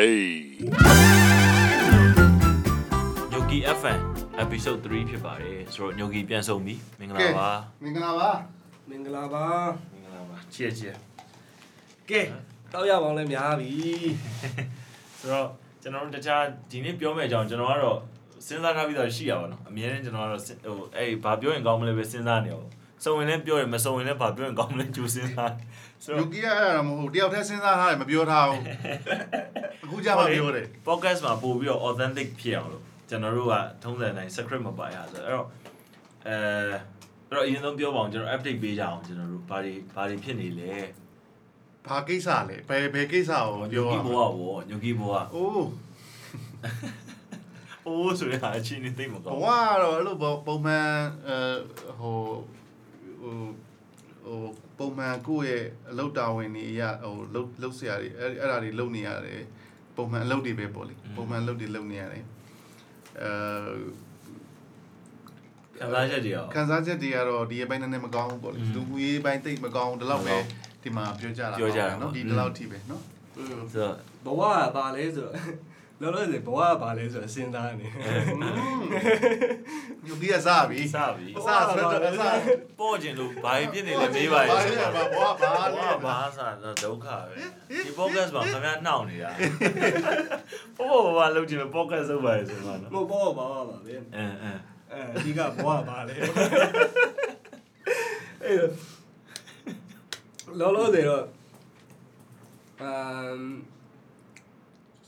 Hey. Yogi FM episode 3ဖြစ်ပါတယ်ဆိုတော့ Yogi ပြန်ဆုံပြီမင်္ဂလာပါ မင်္ဂလာပါ မင်္ဂလာပါ မင်္ဂလာပါ ချီချီကဲတောက်ရပါအောင်လဲများပြီ ဆိုတော့ကျွန်တော်တို့တခြားဒီနေ့ပြောမယ့်အကြောင်းကျွန်တော်ကတော့စဉ်းစားထားပြီးသားရှိရပါတော့အများနဲ့ကျွန်တော်ကတော့စဉ်ဟိုအဲ့ဘာပြောရင်ကောင်းမလဲပဲစဉ်းစားနေအောင်စုံဝင်လည်းပြောတယ်မစုံဝင်လည်းဘာပြောရင်ကောင်းမလဲကြိုးစဉ်းစားဆို လူ တော့ ကြီးကအဲ့ဒါတော့မဟုတ်ဘူးတယောက်တည်းစဉ်းစားထားတယ်မပြောထားဘူးအခုကြပါပြောတယ် podcast မှာပို့ပြီးတော့ authentic ဖြစ်အောင်လို့ကျွန်တော်တို့ကထုံးစံတိုင်း script မပါရဆိုတော့အဲ့တော့အဲအဲ့တော့အရင်ဆုံးပြောပါအောင်ကျွန်တော် update ပေးကြအောင်ကျွန်တော်တို့ဘာတွေဘာတွေဖြစ်နေလဲ ဘာကိစ္စလဲဘယ်ဘယ်ကိစ္စကို ညို ပြောရ ကီ အောင် ဘောကဘောညိုကီဘောက အိုး အိုးဆိုရင်အချင်းနေသိမ ဘ ကောင်း ဝကတော့အဲ့လိုပုံပုံမှန်အဲဟိုဟိုဟိုပုံမှန်ကိုယ့်ရဲ့အလုပ်တာဝန်တွေအရဟိုလုပ်လုပ်စရာတွေအဲ့အဲ့ဒါတွေလုပ်နေရတယ်ပုံမှန်အလုပ်တွေပဲပေါ့လေပုံမှန်အလုပ်တွေလုပ်နေရတယ်အဲ ခံစားချက်တွေရော ခန်းစားချက်တွေကတော့ဒီအပိုင်းနဲ့နဲ့မကောင်းဘူးပေါ့လေ อืม လူမှုရေးပိုင်းတိတ်မကောင်းဘူးဒီလောက်ပဲဒီမှာပြောကြတာ ပြောကြတာ เนาะ ပေါ့อืมဒီဒီလောက်ထိပဲเนาะ ဆိုတော့ ဘဝကဘာလဲဆိုတော့လော လောဆယ်ဘဝကဘာလဲဆိုတော့စဉ်းစားနေ ညူကီးကစားပြီ စ စား ပြီ စားဆိုတော့အစား ပေါ့ကျင်လို့ဘာဖြစ်နေလဲမေးပါ ဘာ ရဲ့ လဲဘာဘာဘာ ဘာ လဲ လဲဘာစားတော့ဒုက္ခပဲဒီ podcast မှာခင်ဗျားနှောင့်နေတာဘောဘောဘာလုပ်ကြည့်မ podcast လုပ်ပါရဲ့ဆိုတော့ မဟုတ်ဘောဘာပါပါပအဲင်းအင်း အဲအဓိကဘဝကဘာလဲအဲ့တော့လောလောဆယ်တော့အမ်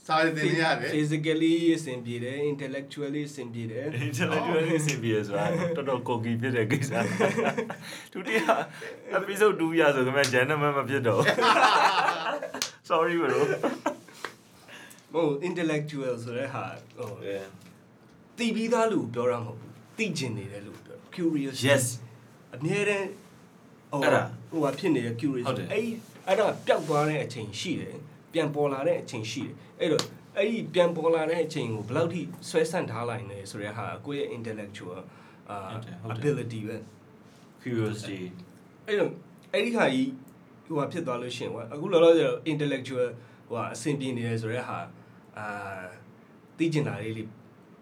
စားရတင်ရတယ် physically အဆင်ပြေတယ် intellectually အဆင်ပြေတယ် intellectual စင်ပြရဆိုတာတော်တော်ကိုကီဖြစ်တဲ့ကိစ္စဒုတိယ episode 2ရဆိုခင်ဗျား gentleman မဖြစ်တော့ sorry bro မဟုတ် intellectual ဆိုတဲ့ဟာဟို တည်ပြီးသားလူကိုပြောတာမဟုတ်ဘူးသိကျင်နေတဲ့လူကိုပြောတာ curious yes အမြဲတမ်းဟို အဲ့ဒါ ဟိုဟာဖြစ်နေတဲ့ curious ဟုတ်တယ် အဲ့ဒီအဲ့ဒါပျောက်သွားတဲ့အချိန်ရှိတယ်ပြန်ပေါ်လာတဲ့အချိန်ရှိတယ်အဲ့တော့အဲ့ဒီပြန်ပေါ်လာတဲ့အချိန်ကိုဘယ်လောက်ထိဆွဲဆန့်ထားလိုက်နေလဲဆိုတဲ့ဟာကကိုယ့်ရဲ့ intellectual အာ ဟုတ်တယ်ဟုတ်တယ် ability ပဲ curiosity အဲ့တော့အဲ့ဒီခါကြီးဟိုဟာဖြစ်သွားလို့ရှရင်ကွာအခုလောလောဆယ်တော့ intellectual ဟိုဟာအဆင်ပြေနေတယ်ဆိုတဲ့ဟာအာသိကျင်တာလေးလေး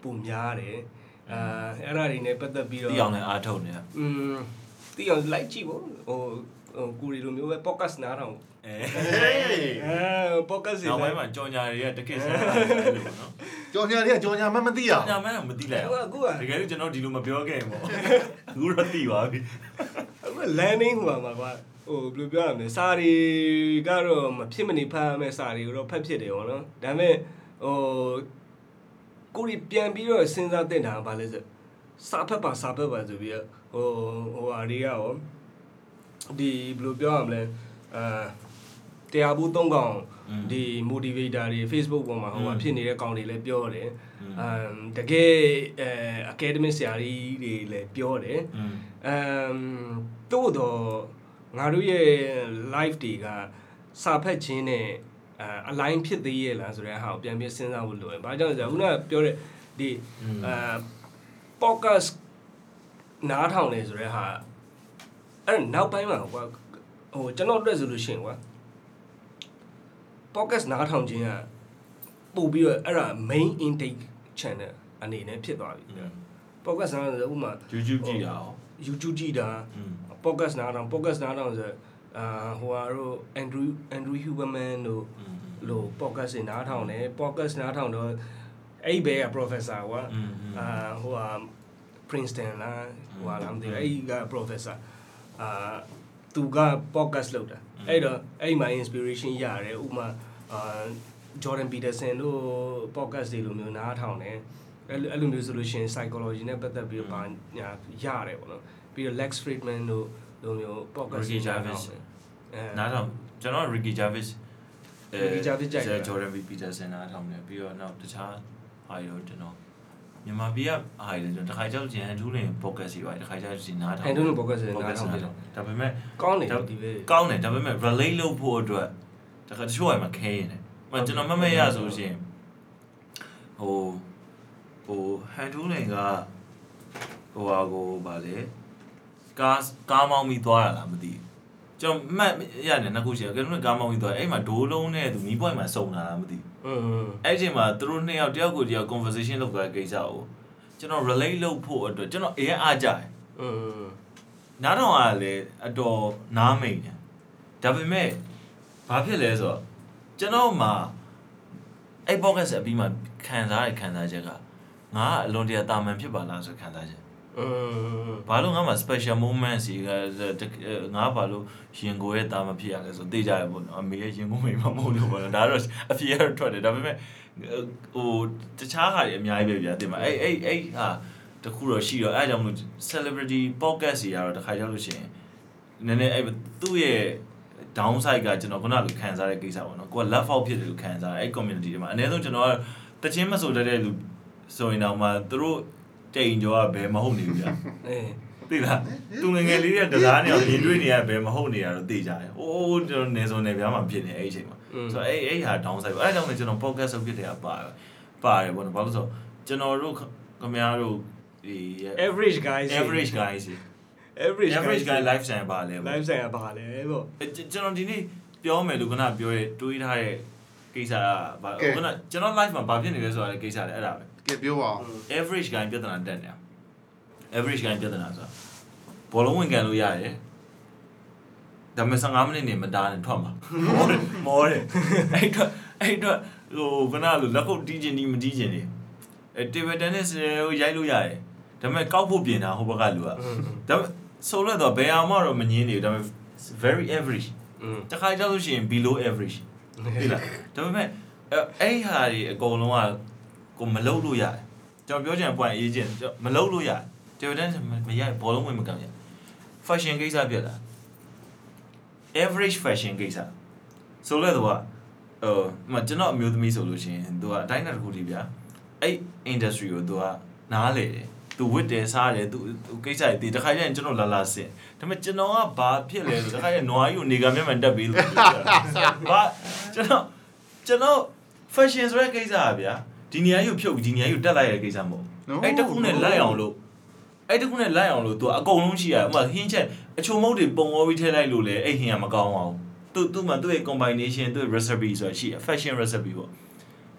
ပုံများတယ်အာအဲ့ဒါတွေနဲ့ပတ်သက်ပြီးတော့ တိအောင်လည်းအားထုတ်နေတာ อืมတီအောင်လိုက်ကြည့်ပေါ့ဟိုဟိုကိုရီလိုမျိုးပဲ podcast နားထောင် အဲ ဟေး အဲ podcast နောက်ပိုင်းမှာကြော်ညာတွေကတကယ်ဆန်းတာလို့ပေါ့နော် ကြော်ညာတွေကကြော်ညာမှမသိအောင် ။ညာမန်းကမသိလိုက် အခုက ဘူး အ။တခုက ကယ်လို့ကျွန်တော်ဒီလိုမပြောခဲ့ရင် ပေါ့။အခုတော့သိပါပြီ အခုက landing ဟိုမှာကွာဟိုဘယ်လိုပြောရမလဲစာတွေကတော့မဖြစ်မနေဖတ်ရမယ့်စာတွေကိုတော့ဖတ်ဖြစ်တယ်ပေါ့နော်ဒါပေမဲ့ဟိုကိုရီပြန်ပြီးတော့စဉ်းစားသင့်တာကဘာလဲဆိုစာဖတ်ပါစာဖတ်ပါဆိုပြီးတော့ဟိုဟိုအရေးကရောဒီဘယ်လိုပြောရမလဲအာတရားဘူးသုံးကောင် ။อืม ဒီ motivator တွေ Facebook ပေါ်မှာဟို อื မှာ ม ဖြစ်နေတဲ့ကောင်တွေလည်းပြောတယ် อืม အမ်တကယ်အဲ academic ဆရာကြီးတွေလည်းပြောတယ် อืม အမ်တို့တော့ငါတို့ရဲ့ life တွေကစာဖတ်ခြင်းနဲ့အဲ align ဖြစ်သေးရဲ့လားဆိုတဲ့အဟာကိုပြန်ပြီးစဉ်းစားဖို့လိုတယ်။ဘာကြောင့်လဲဆိုတော့ခုနကပြောတဲ့ဒီအဲ podcast နားထောင်နေဆိုတဲ့ဟာအဲ့ဒါနောက်ပိုင်းမှာကွာဟိုကျွန်တော်အတွက်ဆိုလို့ရှိရင်ကွာ podcast နားထောင်ခြင်းကပို့ပြီးတော့အဲ့ဒါ main intake channel အနေနဲ့ဖြစ်သွားပြီ podcast နားထောင်ဆိုဥပမာ YouTube ကြည့်ရအောင် YouTube ကြည့်တာ ။ Mm. podcast နားထောင် podcast နားထောင်ဆိုအာဟိုဟာတို့ Andrew Andrew Huberman တို့ Mm. လို့ podcast တွေနားထောင်တယ် podcast နားထောင်တော့အဲ့ဒီဘဲက professor ကွာ Mm. Mm. အာဟိုဟာ Princeton လားဟိုဟာလားမသိဘူးအဲ့ဒီက professor အာသူက podcast လုပ်တာအဲ့တော့အဲ့ဒီမှာ inspiration ရတယ်ဥပမာအာ Jordan Peterson တို့ podcast တွေလိုမျိုးနားထောင်တယ်အဲ့လိုအဲ့လိုမျိုးဆိုလို့ရှိရင် psychology နဲ့ပတ်သက်ပြီးတော့ဘာညာရတယ်ပေါ့နော်ပြီးတော့ Lex Friedman တို့လိုမျိုး podcast Ricky တွေနားထောင် Gervais တယ်အဲ နားထောင်ကျွန်တော် Ricky Jarvis Ricky Gervais ကြိုက်တာ ဆရာ Jordan B Peterson နားထောင်တယ်ပြီးတော့နောက်တခြားဟာတွေတော့ကျွန်တော်မြန်မာပြည်ကအားရတယ်ကျွန်တော်တစ်ခါကြောက်ကျန်ထူးလင် podcast တွေပါတယ်တစ်ခါကြောက်ကျန်နားထောင် Andrew တို့ podcast တွေနားထောင်တယ် ဒါပေမဲ့ ကောင်းတယ် ဒါ ဒီပဲ ကောင်းတယ်ဒါပေမဲ့ relate လုပ်ဖို့အတွက်တခါတချို့ကမှခဲရင်တယ်။မကျွန်တော်မတ်မတ်ရဆိုလို့ရှရင်ဟိုဟိုဟန်ထူးလင်ကဟိုဟာကိုဗာလေကားကားမောင်းပြီးသွားရလားမသိဘူး။ ကျွန်တော်မှတ်ရတယ်နှစ်ခုရှိတယ်ကျွန်တော်ကားမောင်းပြီးသွားအဲ့မှာဒိုးလုံးနဲ့သူမီးပွိုင်မှာစုံလာတာမသိဘူး อืม အဲ့ချိန်မှာသူတို့နှစ်ယောက်တယောက်ကိုတယောက် conversation လုပ်သွားတဲ့ကိစ္စကိုကျွန်တော် relate လုပ်ဖို့အတွက်ကျွန်တော်အရင်အားကြတယ် อืม နားတော်ကလည်းအတော်နားမိန်တယ်ဒါပေမဲ့ဘာဖြစ်လဲဆိုတော့ကျွန်တော်မှာအဲ့ podcast အပြီးမှာခံစားရတဲ့ခံစားချက်ကငါကအလွန်တရာတာမန်ဖြစ်ပါလားဆိုတဲ့ခံစားချက် อืม ဘာလို့ငါမှာ special moment စီကတကယ်ငါဘာလို့ရင်ကိုရဲ့တာမဖြစ်ရလဲဆိုသိကြရပေါ့နော်အမေရဲ့ရင်ကိုမိမမဟုတ်လို့ပေါ့နော်ဒါတော့အဖြေရတော့ထွက်တယ်ဒါပေမဲ့ဟိုတခြားဟာတွေအများကြီးပဲဗျာတင်မအဲ့အဲ့အဲ့ဟာတခုတော့ရှိတော့အဲ့ဒါကြောင့်မလို့ celebrity podcast ကြီးကတော့တစ်ခါရောက်လို့ရှိရင်နည်းနည်းအဲ့သူ့ရဲ့ downside ကကျွန်တော်ခုနကခံစားရတဲ့ကိစ္စပေါ့နော်ကိုက love out ဖြစ်တယ်လို့ခံစားရအဲ့ community တွေမှာအနည်းဆုံးကျွန်တော်ကတချင်းမဆိုတတ်တဲ့လူဆိုရင်တော့မှသူတို့တိမ်ကြောကဘယ်မဟုတ်နေဘူးဗျာ เอ้ย သိလားသူငယ်ငယ်လေးတွေကကစားနေအောင်မြင်တွေ့နေရဘယ်မဟုတ်နေရတော့သိကြတယ်။အိုးကျွန်တော်နေစုံနေပြားမှာဖြစ်နေအဲ့ဒီအချိန်မှာဆိုတော့အဲ့အဲ့ဟာ down side ပဲအဲ့ဒါကြောင့်လည်းကျွန်တော် podcast လုပ်ဖြစ်တယ်ကပါပါတယ်ဘောနော်ဘာလို့ဆိုကျွန်တော်တို့ခမရတို့ဒီ average guys average guys average average guy lifestyle ပါလဲပေါ့ life ဆိုင်ကဘာလဲဗော ကျွန်တော်ဒီနေ့ပြောမယ်လို့ခုနပြောရဲတွေးထားတဲ့ကိစ္စကဘာခုနကျွန်တော် live မှာဘာဖြစ်နေလဲဆိုတာလည်းကိစ္စလည်းအဲ့ဒါပဲ ကဲပြောပါအောင် average guy ပြဿနာတက်နေတာ average guy ပြဿနာဆိုတာဘောလုံးဝင်ကန်လို့ရတယ်ဒါပေမဲ့15မိနစ်နေမတားနဲ့ထွက်မှာမောတယ်မောတယ်အဲ့တော့အဲ့တော့ဟိုကနလိုလက်ကုပ်တီးခြင်းဒီမတီးခြင်းနေအဲတီဗီတန်နစ်ကိုရိုက်လို့ရတယ်ဒါပေမဲ့ကောက်ဖို့ပြင်တာဟိုဘက်ကလူက อืม ဒါပေမဲ့ဆိုလို့တော့ဘယ်အောင်မှတော့မငင်းနေဘူးဒါပေမဲ့ very average อืม တစ်ခါကြောက်လို့ရှိရင် below average ဟုတ်လားဒါပေမဲ့အဲ့အဲ့ဟာတွေအကုန်လုံးကကိုမလုပ်လို့ရတယ်ကျွန်တော်ပြောချင်တဲ့ point အရေးချင်းကျွန်တော်မလုပ်လို့ရတယ်တေဗီဒန်မရဘောလုံးဝင်မကန်ရ fashion ကိစ္စပြက်လာ average fashion ကိစ္စဆိုလဲတော့ကဟိုမကျွန်တော်အမျိုးသမီးဆိုလို့ရှိရင်သူကအတိုင်းအတာတစ်ခုတည်းဗျာအဲ့ industry ကိုသူကနားလေတယ်သူဝတ်တယ်စားတယ်သူသူကိစ္စတွေဒီတစ်ခါကျရင်ကျွန်တော်လာလာစင်ဒါပေမဲ့ကျွန်တော်ကဘာဖြစ်လဲဆိုတစ်ခါကျရင်နွားကြီးကိုနေကမျက်မှန်တက်ပြီး လို့ပြောတာဘာကျွန်တော် ကျွန်တော် fashion ဆိုတဲ့ကိစ္စอ่ะဗျာဒီနေရာကြီးကိုဖြုတ်ပြီးဒီနေရာကြီးကိုတက်လိုက်ရတဲ့ကိစ္စမဟုတ်ဘူး No, အဲ့တစ်ခုနဲ့ no. လိုက်အောင်လို့အဲ့တစ်ခုနဲ့လိုက်အောင်လို့ तू အကုန်လုံးရှိရတယ်ဥပမာဟင်းချက်အချိုမုတ်တွေပုံဝေါ်ပြီးထည့်လိုက်လို့လေအဲ့ဟင်းကမကောင်းအောင်သူသူ့မှာသူ့ရဲ့ combination သူ့ရဲ့ recipe ဆိုတာရှိရ fashion recipe ပေါ့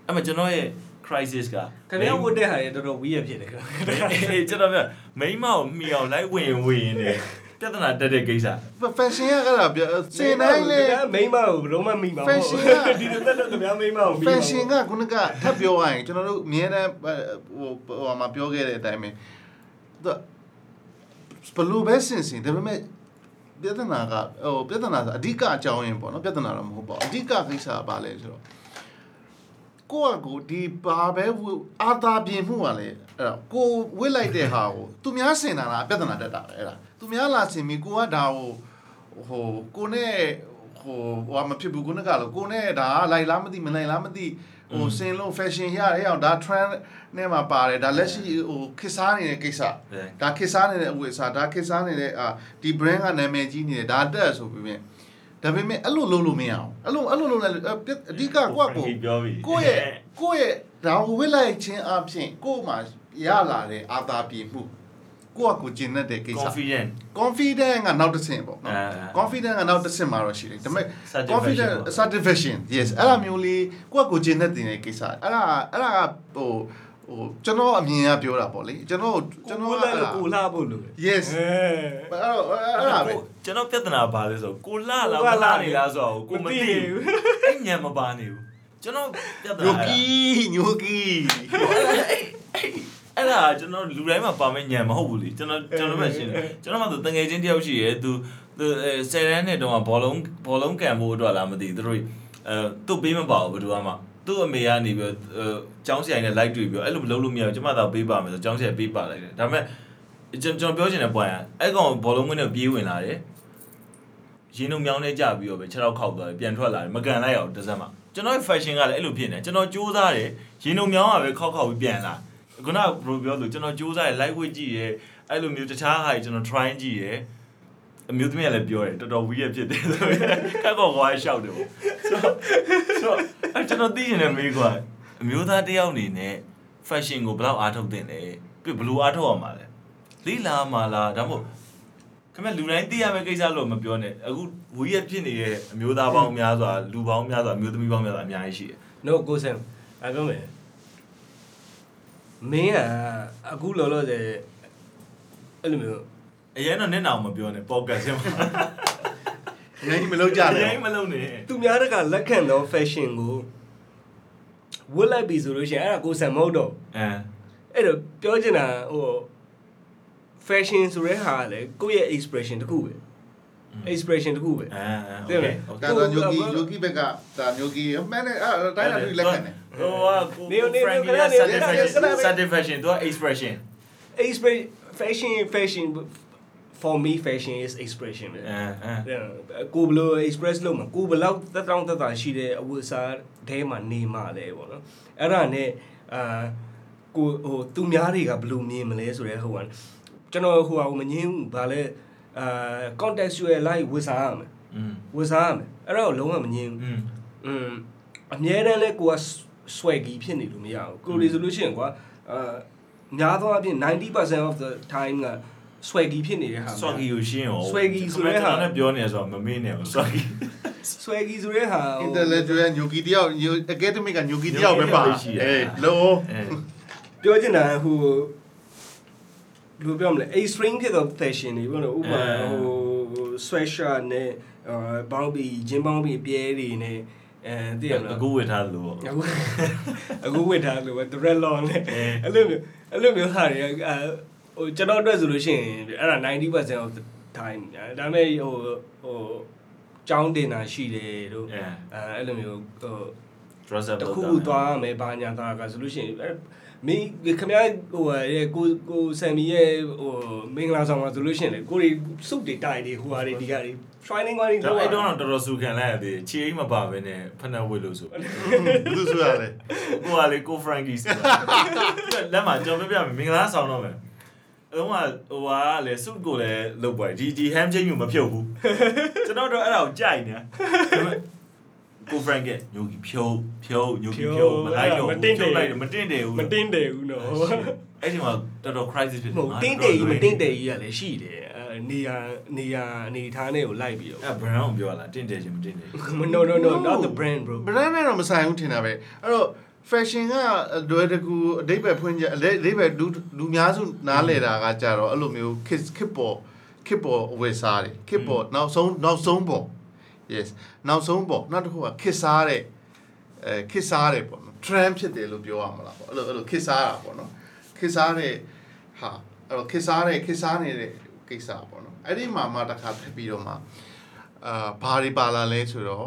အဲ့မှာကျွန်တော်ရဲ့ crisis က ခင်ဗျားဝတ်တဲ့ဟာတွေတော်တော်ဝီးရဖြစ်တယ်ခင် ဗျာ အေးကျွန်တော်ပြမိန်းမကိုမှီအောင်လိုက်ဝင်ဝင်နေတယ်ပြဿနာတက်တဲ့ကိစ္စ fashion ကအဲ့ဒါပြစင်တိုင်းလေ မိန်းမကိုဘယ်လုံးမမိပါဘူး Fashion က ဒီလိုတက်လို့ခင်ဗျားမိန်းမကိုမိပါဘူး fashion ကခုနကထပ်ပြောရရင်ကျွန်တော်တို့အများတန်းဟိုဟိုမှာပြောခဲ့တဲ့အတိုင်းပဲသူကဘလူးပဲစင်စင်ဒါပေမဲ့ပြဿနာကဟိုပြဿနာဆိုအဓိကအကြောင်းရင်းပေါ့နော်ပြဿနာတော့မဟုတ်ပါဘူးအဓိကကိစ္စကဘာလဲဆိုတော့ကိုယ့်အကိုဒီဘာပဲဝတ်အာသာပြင်မှုကလည်းအဲ့ဒါကိုယ်ဝစ်လိုက်တဲ့ဟာကိုသူများစင်တာလားပြဿနာတက်တာပဲအဲ့ဒါသူများလာစင်ပြီကိုကဒါဟိုဟိုကိုနဲ့ဟိုဟိုဟာမဖြစ်ဘူးကိုနဲ့ကလို့ကိုနဲ့ဒါကလိုက်လားမသိမလိုက်လားမသိဟိုစင်လို့ fashion ရတဲ့အောင်ဒါ trend နဲ့မှာပါတယ်ဒါလက်ရှိဟိုခေတ်စားနေတဲ့ကိစ္စ ဟုတ် ဒါခေတ်စားနေတဲ့အဝတ်အစားဒါခေတ်စားနေတဲ့အာဒီ brand ကနာမည်ကြီးနေတယ်ဒါတက်ဆိုပြီးပြင်ဒါပေမဲ့အဲ့လိုလုပ်လို့မရအောင်အဲ့လိုအဲ့လိုလုပ်လိုက်လို့အဲ့ပြက်အဓိကကိုယ့်ကို Frankie ပြောပြီ ကိုယ့်ရဲ့ကိုယ့်ရဲ့ဒါကိုဝစ်လိုက်ခြင်းအပြင်ကိုယ့်မှာရလာတဲ့အာသာပြေမှုကိုယ့်အကိုကျင့်တတ်တဲ့ကိစ္စ confident confident ကနောက်တစ်ဆင့်ပေါ့နော် အဲအဲ confident ကနောက်တစ်ဆင့်မှာတော့ရှိတယ်ဒါပေမဲ့ Satisfaction confident ပေါ့ satisfaction yes အဲ့လိုမျိုးလေးကိုယ့်အကိုကျင့်တတ်တဲ့ကိစ္စအဲ့ဒါအဲ့ဒါကဟိုဟိုကျွန်တော်အမြင်ကပြောတာပေါ့လေကျွန်တော် ကျွ ကျွန်န် တော် တော် က အဲ့ လည်း ဒါ ကိုလှဖို့လို့ Yes အဲ အဲ့တော့အဲ့ဒါပဲ ကျွန်တော်ပြဿနာပါလဲဆိုတော့ကိုလှလားမလှနေလားဆိုတော့ကိုမသိဘူးအဲ့ညံမပါနေဘူးကျွန်တော်ပြဿနာအဲ့ညိုဒါ ကီညိုကီ အဲ့ဒါကျွန်တော်လူတိုင်းမှာပါမဲ့ညံမဟုတ်ဘူးလေကျွန်တော်ကျွန်တော်ပဲရှင်းတယ်ကျွန်တော်မှသူတငယ်ချင်းတယောက်ရှိရဲသူသူဆယ်တန်းနဲ့တုန်းကဘောလုံးဘောလုံးကန်ဖို့အတွက်လားမသိဘူးသူတို့အဲသူ့ပေးမပါဘူးဘယ်သူမှသူ့အမေကနေပြီးတော့အဲကျောင်းဆရာကြီးနဲ့ live တွေ့ပြီးတော့အဲ့လိုမလုပ်လို့မရဘူးကျွန်မသာပေးပါမယ်ဆိုကျောင်းဆရာပေးပါလိုက်တယ်ဒါပေမဲ့ကျွန်ကျွန်တော်ပြောချင်တဲ့ point ကအဲ့ကောင်ဘောလုံးကွင်းနဲ့ပြေးဝင်လာတယ်ရင်းနှုံမြောင်းနဲ့ကြပြီးတော့ပဲခြေထောက်ခောက်သွားတယ်ပြန်ထွက်လာတယ်မကန်လိုက်အောင်တစ်စက်မှကျွန်တော်ရဲ့ fashion ကလည်းအဲ့လိုဖြစ်နေကျွန်တော်စူးစမ်းတယ်ရင်းနှုံမြောင်းကပဲခောက်ခောက်ပြီးပြန်လာ ခုနကဘလိုပြောလို့ကျွန်တော်စူးစမ်းရ live weight ကြည့်ရဲအဲ့လိုမျိုးတခြားဟာကြီးကျွန်တော် try ကြည့်ရဲအမျိုးသမီးကလည်းပြောတယ်တော်တော်ဝီး ရဖြစ်တယ်ဆိုတော့ခက်တော့ဝါရှောက်တယ်ပေါ့ဆိုတော့ဆိုတော့အဲ့ကျွန်တော်သိရင်လည်းမေးခွာအမျိုးသားတစ်ယောက်အနေနဲ့ fashion ကိုဘယ်လောက်အားထုတ်သင့်လဲပြဘယ်လိုအားထုတ်ရမှာလဲလိလာမှာလားဒါမှမဟုတ် ခင်ဗျလူတိုင်းသိရမယ့်ကိစ္စလို့မပြောနဲ့အခုဝီးရဖြစ်နေတဲ့အမျိုးသားပေါင်းများစွာလူပေါင်းများစွာအမျိုးသမီးပေါင်းများစွာအများကြီးရှိတယ် no go sam အပြောမယ်မင်းကအခုလောလောဆယ်အဲ့လိုမျိုး အရင်တော့နဲ့နာအောင်မပြောနဲ့ပေါ့ကတ်ချင်းမှာ အရင်ကြီးမလုပ်ကြ အ နဲ့ ရင်မလုံးနဲ့ သူများတကလက်ခံတော့ fashion ကိုဝတ်လိုက်ပြီဆိုလို့ရှိရင်အဲ့ဒါကိုဆန်မဟုတ်တော့ အမ် အဲ့တော့ပြောချင်တာဟို fashion ဆိုတဲ့ဟာကလေကိုယ့်ရဲ့ expression တစ်ခုပဲ expression တစ်ခုပဲ အမ် သိ โอ မ เค လား โอเค ဒါတော့ညိုကီညိုကီဘက်ကဒါညိုကီအမှန်နဲ့အဲ့တိုင်းလာတွေ့လက်ခံတယ် ဟိုကကို နေ နေ နေ နေ နေ နေ ခဏနေ နေ ခဏနေခဏနေ satisfaction သူက expression expression fashion fashion for me fashion is expression ပဲ အမ်အမ် အဲ့ကိုဘယ်လို express လုပ်မှာကိုဘယ်လောက်သက်တောင့်သက်သာရှိတဲ့အဝတ်အစားထဲမှာနေမှာလဲပေါ့နော်အဲ့ဒါနဲ့အာကိုဟိုသူများတွေကဘယ်လိုမြင်မလဲဆိုတဲ့ဟိုကကျွန်တော်ဟိုဟာကိုမငင်းဘူးဗာလဲအာ contextual life ဝတ်စားရမယ် อืม ဝတ်စားရမယ်အဲ့ဒါကိုလုံးဝမငြင်းဘူး อืม အင်းအများတန်းလဲကိုကဆွဲကြီးဖြစ်နေလို့မရဘူးကို อืม လေဆိုလို့ရှိရင်ကွာအာများသောအားဖြင့်90% of the time ကဆွဲကြီးဖြစ်နေတဲ့ဟာ ဆွန်ကီကိုရှင်းရော ဆွဲကြီးဆိုတဲ့ဟာ ကျွန်တော်လည်းပြောနေရဆိုတော့မမင်းနဲ့ဘူးဆွန်ကီ ဆွဲကြီးဆိုတဲ့ဟာ အ ဟို င်တယ်လက်ဂျွယ်ညိုကီတယောက်ညိုအကယ်ဒမစ်ကညိုကီတယောက်ပဲပါအေးလို့ အဲ ပြောချင်တာဟိုဘယ်လိုပြောမလဲ a string ဖြစ်တော့ fashion တွေပေါ့နော်ဥပမာဟို sweat shirt နဲ့အာဘောင်းဘီဂျင်းဘောင်းဘီပြဲတွေနဲ့အဲသိရမလား အခုဝေထားသလိုပေါ့ အခု အခုဝစ်ထားလို့ပဲ thread long နဲ့ အေး အဲ့လိုမျိုးအဲ့လိုမျိုးဟာတွေကအာဟိုကျွန်တော်အတွက်ဆိုလို့ရှိရင်အဲ့ဒါ90% of the time ညာဒါပေမဲ့ဟိုဟိုကြောင်းတင်တာရှိတယ်တို့ အဲ အဲအဲ့လိုမျိုးဟို dress up တစ် လုပ် ခုခုသွားရမယ်ဘာညာတာကဆိုလို့ရှိရင်အဲ့မင်းခင်ဗျားဟိုရဲ့ကိုကိုဆမ်မီရဲ့ဟိုမင်္ဂလာဆောင်မှာဆိုလို့ရှိရင်လေကိုတွေစုပ်တွေတိုင်တွေဟိုဟာတွေဒီကတွေ shining ကနေ ဒါ တော့ အဲ့တော့တော်တော်စုခံလိုက်ရသေးတယ်ခြေအိမ်မပါဘဲနဲ့ဖက်နှက်ဝေလို့ဆို ဘယ်သူဆိုရလဲ ကိုကလေကိုဖရန်ကီဆိုတာသူကလက်မှာကျွန်တော်ပြပြမယ်မင်္ဂလာဆောင်တော့မယ်အလုံးကဟိုကလေစုကိုလည်းလုတ်ပွိုင်ဒီဒီ ham chain ကိုမဖြုတ်ဘူးကျွန်တော်တို့အဲ့ဒါကိုကြိုက်နေ ကိုဖရန်ကညိုကြီးဖြုတ်ဖြုတ်ညိုကြီးဖြုတ်မလိုက်တော့ဘူးဖြုတ်လိုက်မတင့်တယ်ဘူး မတင်းတယ်ဘူးနော် အဲ့ဒီမှာတော်တော် crisis ဖြစ် မဟုတ်တင်းတယ်ကြီးမတင်းတယ်ကြီးကလည်းရှိတယ်အဲနေရာနေရာအနေထားနဲ့ကိုလိုက်ပြီးတော့ အဲ့ brand ကိုပြောလားတင့်တယ်ချင်းမတင့်တယ် မ no no no not the brand bro ဘရန်နဲ့တော့မဆိုင်ဘူးထင်တာပဲအဲ့တော့ fashion ကဒွဲတကူအတိတ်ပဲဖွင့်ကြအတိတ်ပဲလူလူများစုနားလဲတာကကြတော့အဲ့လိုမျိုး kid kid ပေါ် kid ပေါ်အဝယ်စားတယ် kid ပေါ်နောက်ဆုံးနောက်ဆုံးပေါ် yes နောက်ဆုံးပေါ်နောက်တစ်ခုက kid စားတဲ့အဲ kid စားတဲ့ပေါ့နော် trend ဖြစ်တယ်လို့ပြောရမလားပေါ့အဲ့လိုအဲ့လို kid စားတာပေါ့နော် kid စားတဲ့ဟာအဲ့တော့ kid စားတဲ့ kid စားနေတဲ့ကိစ္စပေါ့နော်အဲ့ဒီမှာမှတစ်ခါဖြစ်ပြီးတော့မှအာဘာတွေပါလာလဲဆိုတော့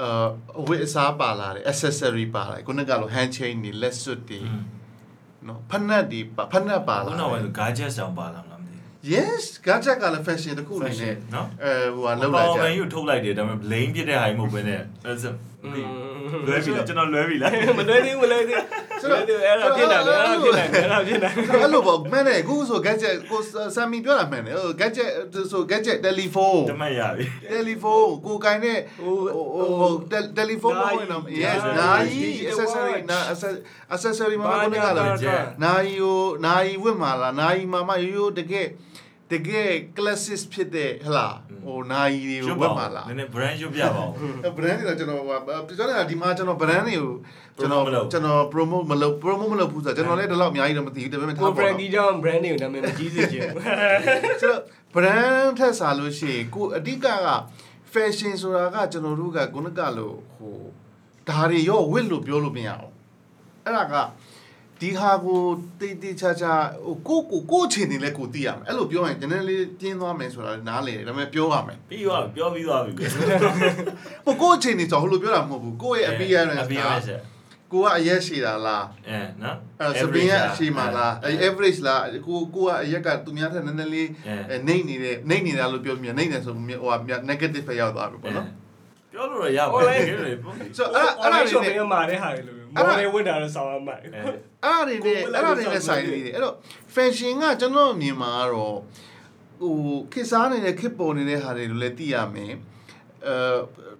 အာအဝတ်အစားပါလာတယ် accessory ပါလာတယ်ခုနကလို hand chain တွေ လက်စွပ်တွေနော်ဖက်နက်တွေပါဖက်နက်ပါလာ ခု တ နက ယ် က gadget ဆောင်ပါလာမလားမသိ yes gadget ကလည်း fashion တစ်ခုအနေနဲ့ Fashion နော် အဲဟိုက ဘူး လောက်လာကြ ဘာမှမထုတ်လိုက်တယ်ဒါပေမဲ့ blame ပြစ်တဲ့ဟာကြီးမဟုတ်ဘဲနဲ့အဲ့ဒါလွဲပြီလားကျွန်တော်လွဲပြီလား မလွဲသေးဘူးမလွဲသေးဘူးအဲ့ဒါဖြစ်တာလေအဲ့ဒါဖြစ်တာအဲ့ဒါဖြစ်တာ အဲ့လိုပေါ့မှန်တယ်အခုဆို gadget ကိုဆမ်မီပြောတာမှန်တယ်ဟို gadget ဆို gadget telephone တမတ်ရပြီ telephone ကိုကိုင်းတဲ့ဟိုဟိုဟို tel- telephone မဟုတ်ရင်တော့ yes နာယီ accessory နာ accessory မှာခုနကလို နာယီကိုနာယီဝတ်မှာလားနာယီမှာမရိုးရိုးတကယ်တကယ် classes ဖြစ်တဲ့ဟလားဟိုနာယီတွေကိုဝတ်မှာလား နည်းနည်း brand ရွတ်ပြပါဦး ဘရန်တွေကကျွန်တော်ဟိုကျွန်တော်ကဒီမှာကျွန်တော်ဘရန်တွေကိုကျွန်တော် Promote မလုပ် ကျွန်တော် promote မလုပ် promote မလုပ်ဘူးဆိုတော့ကျွန်တော်လည်းဒီလောက်အများကြီးတော့မသိဘူးဒါပေမဲ့ထား ကို ပါတော့ brand ကြီးကြောင့် brand တွေကိုနာမည်မကြီးစေချင်ဘူး ကျွန်တော် brand ထက်စားလို့ရှိရင်ကိုအဓိကက fashion ဆိုတာကကျွန်တော်တို့ကခုနကလိုဟိုဒါတွေရောဝတ်လို့ပြောလို့မရအောင်အဲ့ဒါကဒီဟာကိုတိတ်တိတ်ချာချာဟိုကိုယ့်ကိုယ်ကိုယ့်အချိန်နေလဲကိုယ်သိရမယ်အဲ့လိုပြောရင်ကျွန်တော်လေးတင်းသွားမယ်ဆိုတာနားလေဒါပေမဲ့ပြောရမယ် ပြီးတော့ပြောပြီးသွားပြီကို ဟိုကိုယ့်အချိန်နေဆိုဟိုလိုပြောတာမဟုတ်ဘူးကိုယ့်ရဲ့ appearance ကကိုကအရက်ရှိတာလား အဲနော် အဲ့ဒါစပင်းကအရှိမလားအဲ့ average လားကိုကိုကအရက်ကသူများထက်နည်းနည်းလေး အဲနေနေတဲ့နေနေတာလို့ပြောမြင်နေနေဆိုမြင်ဟိုဟာမြ negative ပဲရောက်သွားပြီပေါ့နော် ပြောလို့ရပါတယ်ခင်ဗျာ ဆိုတော့အဲ့ဒါအဲ့ဒါတွေနဲ့ မမာတဲ့ဟာတွေလို့မော်ဒယ်ဝတ်တာတော့ဆောင်ရမှာ အဲ အဲ့ဒါတွေနဲ့အဲ့ဒါတွေနဲ့ဆိုင်နေတယ်အဲ့တော့ fashion ကကျွန်တော်မြင်မှာကတော့ဟိုခေတ်စားနေတဲ့ခေတ်ပေါ်နေတဲ့ဟာတွေလို့လည်းသိရမယ်အဲ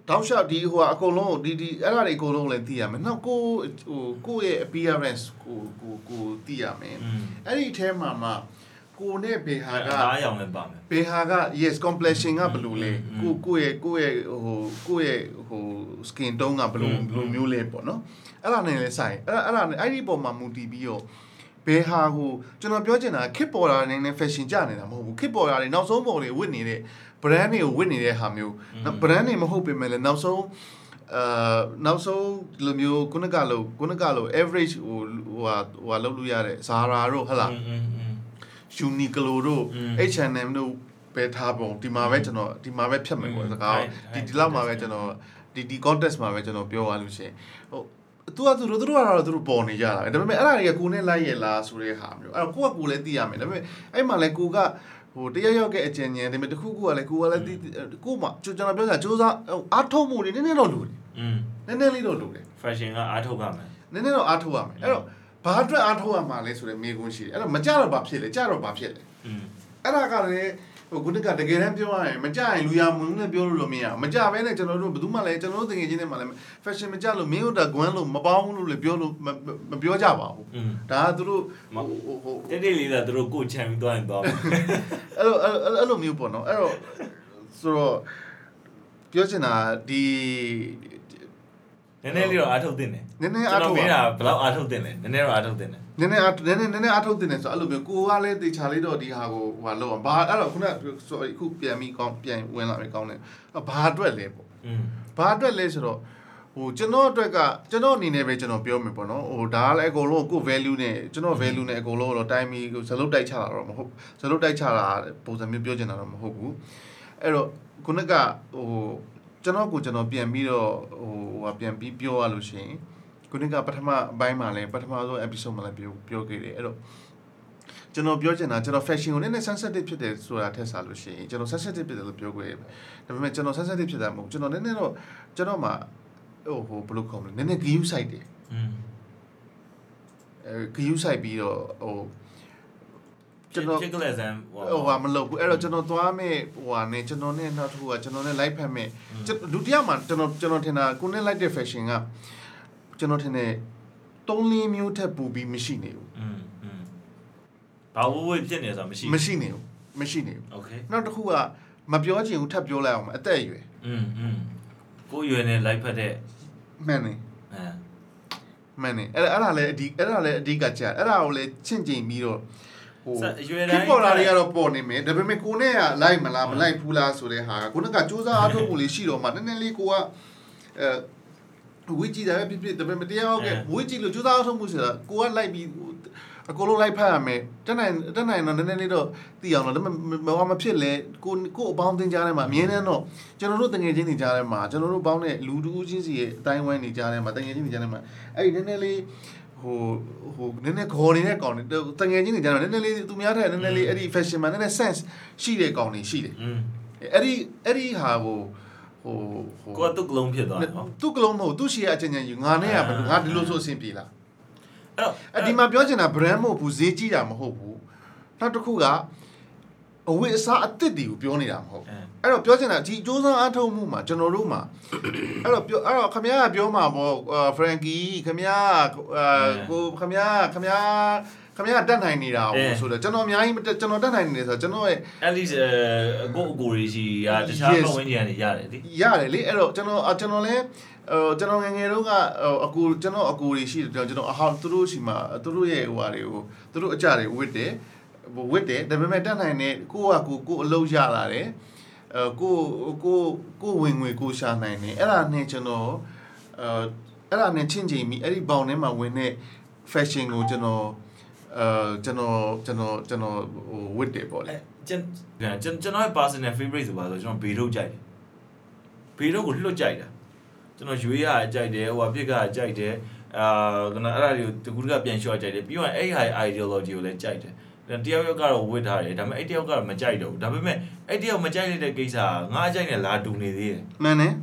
တောက်လျှောက်ဒီဟိုဟာအကုန်လုံးကိုဒီဒီအဲ့ဒါတွေအကုန်လုံးကိုလည်းသိရမယ်နောက်ကိုဟိုကိုယ့်ရဲ့ appearance ကိုကိုကိုသိရမယ် အဲ့ဒီအထဲမှာမှဟ ကိုနဲ့ဘေဟာ အား က အားရောင်လည်းပါမယ် ပေဟာက yes complexion ကဘယ်လိုလဲ อื ကို ม ကိုယ့်ရဲ့ကိုယ့်ရဲ့ဟိုကိုယ့်ရဲ့ဟို skin tone ကဘယ်လို อืม ဘယ်လိုမျိုးလဲပေါ့နော်အဲ့ဒါနဲ့လဲဆိုင်အဲ့ဒါအဲ့ဒါနဲ့အဲ့ဒီပုံမှာမူတည်ပြီးတော့ဘယ်ဟာကိုကျွန်တော်ပြောချင်တာခစ်ပေါ်တာနေနဲ့ fashion ကြနေတာမဟုတ်ဘူးခစ်ပေါ်တာတွေနောက်ဆုံးပုံတွေဝတ်နေတဲ့ brand တွေကိုဝတ်နေတဲ့ဟာမျိုး อืม brand တွေမဟုတ်ပေမဲ့လည်းနောက်ဆုံးအာနောက်ဆုံးဒီလိုမျိုးခုနကလိုခုနကလို average ဟိုဟိုဟာဟိုဟာလောက်လို့ရတဲ့ Zara တို့ဟုတ်လား อืมอืมอืม Uniqlo တို့ อืม H&M တို့ပဲထားပုံဒီမှာပဲကျွန်တော်ဒီမှာပဲဖြတ်မယ် อื ပေါ့ ม စကားကို right, ဒီ right, ဒီလောက်မှာပဲကျွန်တော်ဒီဒီ contest မှာပဲကျွန်တော်ပြောရလို့ရှိရင်ဟိုသူကသူတို့သူတို့ကတော့သူတို့ပေါ်နေကြတာပဲဒါပေမဲ့အဲ့ဒါတွေကကိုယ်နဲ့လိုက်ရလားဆိုတဲ့ဟာမျိုးအဲ့တော့ကိုကကိုယ်လည်းသိရမယ်ဒါပေမဲ့အဲ့မှာလည်းကိုကဟိုတရရောက်ကအကျဉ်းဉာဏ်ဒါပေမဲ့တစ်ခုခုကလည်းကိုကလည်းသိကို့မှာကျွန်တော်ပြောတာစူးစမ်းအားထုတ်မှုတွေနည်းနည်းတော့လိုတယ် อืม နည်းနည်းလေးတော့လိုတယ် fashion ကအားထုတ်ပါမယ် နည်းနည်းတော့အားထုတ်ရမယ်အဲ့တော့ဘာအတွက်အားထုတ်ရမှာလဲဆိုတဲ့မေးခွန်းရှိတယ်အဲ့တော့မကြတော့ဘာဖြစ်လဲကြတော့ဘာဖြစ်လဲ อืม အဲ့ဒါကလည်းဟိုခုနကတကယ်တမ်းပြောရရင်မကြရင်လူရမုံနဲ့ပြောလို့တော့မရဘူးမကြဘဲနဲ့ကျွန်တော်တို့ဘယ်သူမှလည်းကျွန်တော်တို့တကယ်ချင်းတွေမှာလည်း fashion မကြလို့မင်းတို့တာကွမ်းလို့မပေါင်းဘူးလို့လည်းပြောလို့မမမပြောကြပါဘူး อืม ဒါကသူတို့ မ ဟိုဟိုဟို တိ အဲ့ တိလေးသာသူတို့ကိုယ်ချမ်းပြီးသွားရင်သွားမယ် လိုအဲ့လိုအဲ့လိုမျိုးပေါ့နော်အဲ့တော့ဆိုတော့ပြောချင်တာဒီ နည်းနည်းလေးတော့အားထုတ်သင့်တယ် နည်းနည်းအားထုတ်ကျွပါန်တော်မင်းကဘယ်လောက်အားထုတ်သင့်လဲနည်းနည်းတော့အားထုတ်သင့်တယ် နည်းနည်းအားနည်းနည်းနည်းနည်းအားထုတ်တင်တယ်ဆိုတော့အဲ့လိုမျိုးကိုကလည်းတေချာလေးတော့ဒီဟာကိုဟိုဟာလောက်အောင်ဘာအဲ့တော့ခုန sorry အခုပြန်ပြီးကောင်းပြန်ဝင်လာပြီကောင်းတယ်အဲ့ဘာအတွက်လဲပေါ့ อืม ဘာအတွက်လဲဆိုတော့ဟိုကျွန်တော်အတွက်ကကျွန်တော်အနေနဲ့ပဲကျွန်တော်ပြောမယ်ပေါ့နော်ဟိုဒါကလည်းအကုန်လုံးကိုယ့် value နဲ့ကျွန်တော် value နဲ့အကုန်လုံးတော့တိုင်းပြီးဟိုဇလုံးတိုက်ချတာတော့မဟုတ်ဇလုံးတိုက်ချတာပုံစံမျိုးပြောချင်တာတော့မဟုတ်ဘူးအဲ့တော့ခုနကဟိုကျွန်တော်ကိုကျွန်တော်ပြန်ပြီးတော့ဟိုဟိုဟာပြန်ပြီးပြောရလို့ရှိရင်ခုနကပထမအပိုင်းမှာလည်းပထမဆုံး episode မှာလည်းပြောပြောခဲ့တယ်အဲ့တော့ကျွန်တော်ပြောချင်တာကျွန်တော် fashion ကိုနည်းနည်း sensitive ဖြစ်တယ်ဆိုတာထက်စားလို့ရှိရင်ကျွန်တော် sensitive ဖြစ်တယ်လို့ပြောခွင့်ဒါပေမဲ့ကျွန်တော် sensitive ဖြစ်တာမဟုတ်ဘူးကျွန်တော်နည်းနည်းတော့ ကျွန်တော်မှဟိုဟိုဘယ်လိုခေါ်မလဲနည်းနည်းဂယူးဆိုင်တယ် อืม အဲဂယူးဆိုင်ပြီးတော့ဟို ကျွ ကျွန် န် တော် တော် particular exam ဟ ဟို ို ဟာမလုပ်ဘူးအဲ့တော့ကျွန်တော်သွားမဲ့ဟိုဟာနဲ့ကျွန်တော်နဲ့နောက်တစ်ခုကကျွန်တော်နဲ့ live ဖတ်မဲ့ကျွန်တော်ဒုတိယမှာကျွန်တော်ကျွန်တော်ထင်တာကိုယ်နဲ့ live တဲ့ fashion ကကျွန်တော်ထင်တဲ့သုံးလေးမျိုးထက်ပိုပြီးမရှိနေဘူး อืมอืมဘာဝဝဖြစ်နေဆိုတာမရှိဘူး မရှိနေဘူးမရှိနေဘူး okay နောက်တစ်ခုကမပြောချင်ဘူးထပ်ပြောလိုက်အောင်အသက်အရွယ် อืมอืมကိုယ်ရွယ်နေ live ဖတ်တဲ့ မှန်နေ အဲ မှန်နေအဲ့ဒါအဲ့ဒါလည်းအဓိအဲ့ဒါလည်းအဓိကကြာအဲ့ဒါကိုလည်းချင့်ချိန်ပြီးတော့ ဟို ဆက်အရွယ် ခေ တိုင်း ပေါ်လာတွေကတော့ပေါ်နေမယ်ဒါပေမဲ့ကိုနဲ့ကလိုက်မလားမလိုက်ဘူးလားဆိုတဲ့ဟာကကိုနဲ့ကစူးစမ်းအားထုတ်မှုလေးရှိတော့မှနည်းနည်းလေးကိုကအဲဝေးကြည့်တာပဲဖြစ်ဖြစ်ဒါပေမဲ့တရားဟုတ်ကဲ့ အဲ ဝေးကြည့်လို့စူးစမ်းအားထုတ်မှုဆိုတာကိုကလိုက်ပြီးဟိုအကုန်လုံးလိုက်ဖတ်ရမယ်တက်နိုင်တက်နိုင်တော့နည်းနည်းလေးတော့သိအောင်တော့ဒါပေမဲ့မမမဖြစ်လဲကိုကိုအပေါင်းအသင်းကြားထဲမှာအမြဲတမ်းတော့ကျွန်တော်တို့တငယ်ချင်းတွေကြားထဲမှာကျွန်တော်တို့ပေါင်းတဲ့လူတူးချင်းစီရဲ့အတိုင်းဝိုင်းတွေကြားထဲမှာတငယ်ချင်းတွေကြားထဲမှာအဲ့ဒီနည်းနည်းလေး ဟိုဟိုနည်းနည်းခေါ်နေတဲ့ကောင်တွေတငယ်ချင်းတွေကျတော့နည်းနည်းလေးသူများထက်နည်းနည်းလေးအဲ့ဒီ fashion မှာနည်းနည်း sense ရှိတဲ့ကောင်တွေရှိတယ် อืม အဲ့ဒီအဲ့ဒီဟာကိုဟိုဟို ကိုယ်ကတုတ်ကလုံးဖြစ်သွားတယ်ဟော သူကလုံးမဟုတ်သူရှိရအချင်းချင်းယူငါနဲ့ကဘယ်လိုငါဒီလိုဆိုအဆင်ပြေလား အဲ့တော့ အဲ့ဒီမှာပြောချင်တာ brand မဟုတ်ဘူးဈေးကြီးတာမဟုတ်ဘူးနောက်တစ်ခုကအဝတ်အစားအသစ်တွေကိုပြောနေတာမဟုတ်ဘူး အဲ အဲ့တော့ပြောချင်တာဒီစူးစမ်းအားထုတ်မှုမှာကျွန်တော်တို့မှာ အဲ့တော့ပြောအဲ့တော့ခမရကပြောမှာပေါ့အာဖရန်ကီခမရအာကိုခမရခမရခမရတက်နိုင်နေတာဟုတ်ဆိုတော့ကျွန်တော်အများကြီးမတက်ကျွန်တော်တက်နိုင်နေတယ်ဆိုတော့ကျွန်တော်ရဲ့ at least အကိုယ့်အကိုရီစီကတခြား Yes. ဘဝင်းကြီးကနေရတယ်လေ ရတယ်လေအဲ့တော့ကျွန်တော်အာကျွန်တော်လည်းဟိုကျွန်တော်ငယ်ငယ်တုန်းကဟိုအကူကျွန်တော်အကူတွေရှိတယ်ကျွန်တော်ကျွန်တော်အဟောင်းသူတို့ရှိမှာသူတို့ရဲ့ဟိုဟာတွေကိုသူတို့အကြတွေဝစ်တယ်ဟိုဝစ်တယ်ဒါပေမဲ့တက်နိုင်တဲ့ကိုယ့်ဟာကိုယ်ကိုယ်အလုပ်ရလာတယ်အဲကိုယ့်ကိုယ်ကိုယ်ဝင်ငွေကိုယ်ရှာနိုင်တယ်အဲ့ဒါနဲ့ကျွန်တော်အဲအဲ့ဒါနဲ့ချင်းချင်းပြီးအဲ့ဒီဘောင်ထဲမှာဝင်တဲ့ fashion ကိုကျွန်တော်အဲကျွန်တော်ကျွန်တော်ကျွန်တော်ဟိုဝစ်တယ်ပေါ့လေ အဲကျွန်ကျွန်ကျွန်တော်ရဲ့ personal favorite ဆိုပါဆိုကျွန်တော်ဘေထုတ်ကြိုက်တယ်ဘေထုတ်ကိုလွတ်ကြိုက်တာကျွန်တော်ရွေးရကြိုက်တယ်ဟိုဟာပြစ်ကကြိုက်တယ်အာကျွန်တော်အဲ့ဒါတွေကိုတကူတကပြန်လျှော့ကြိုက်တယ်ပြီးတော့အဲ့ဟာ ideology ကိုလည်းကြိုက်တယ်ဒါတယောက်ယောက်ကတော့ဝစ်ထားတယ်ဒါပေမဲ့အဲ့တယောက်ကတော့မကြိုက်တော့ဘူးဒါပေမဲ့အဲ့တယောက်မကြိုက်လိုက်တဲ့ကိစ္စကငါအကြိုက်နဲ့လာတူနေသေးတယ် မှန်တယ်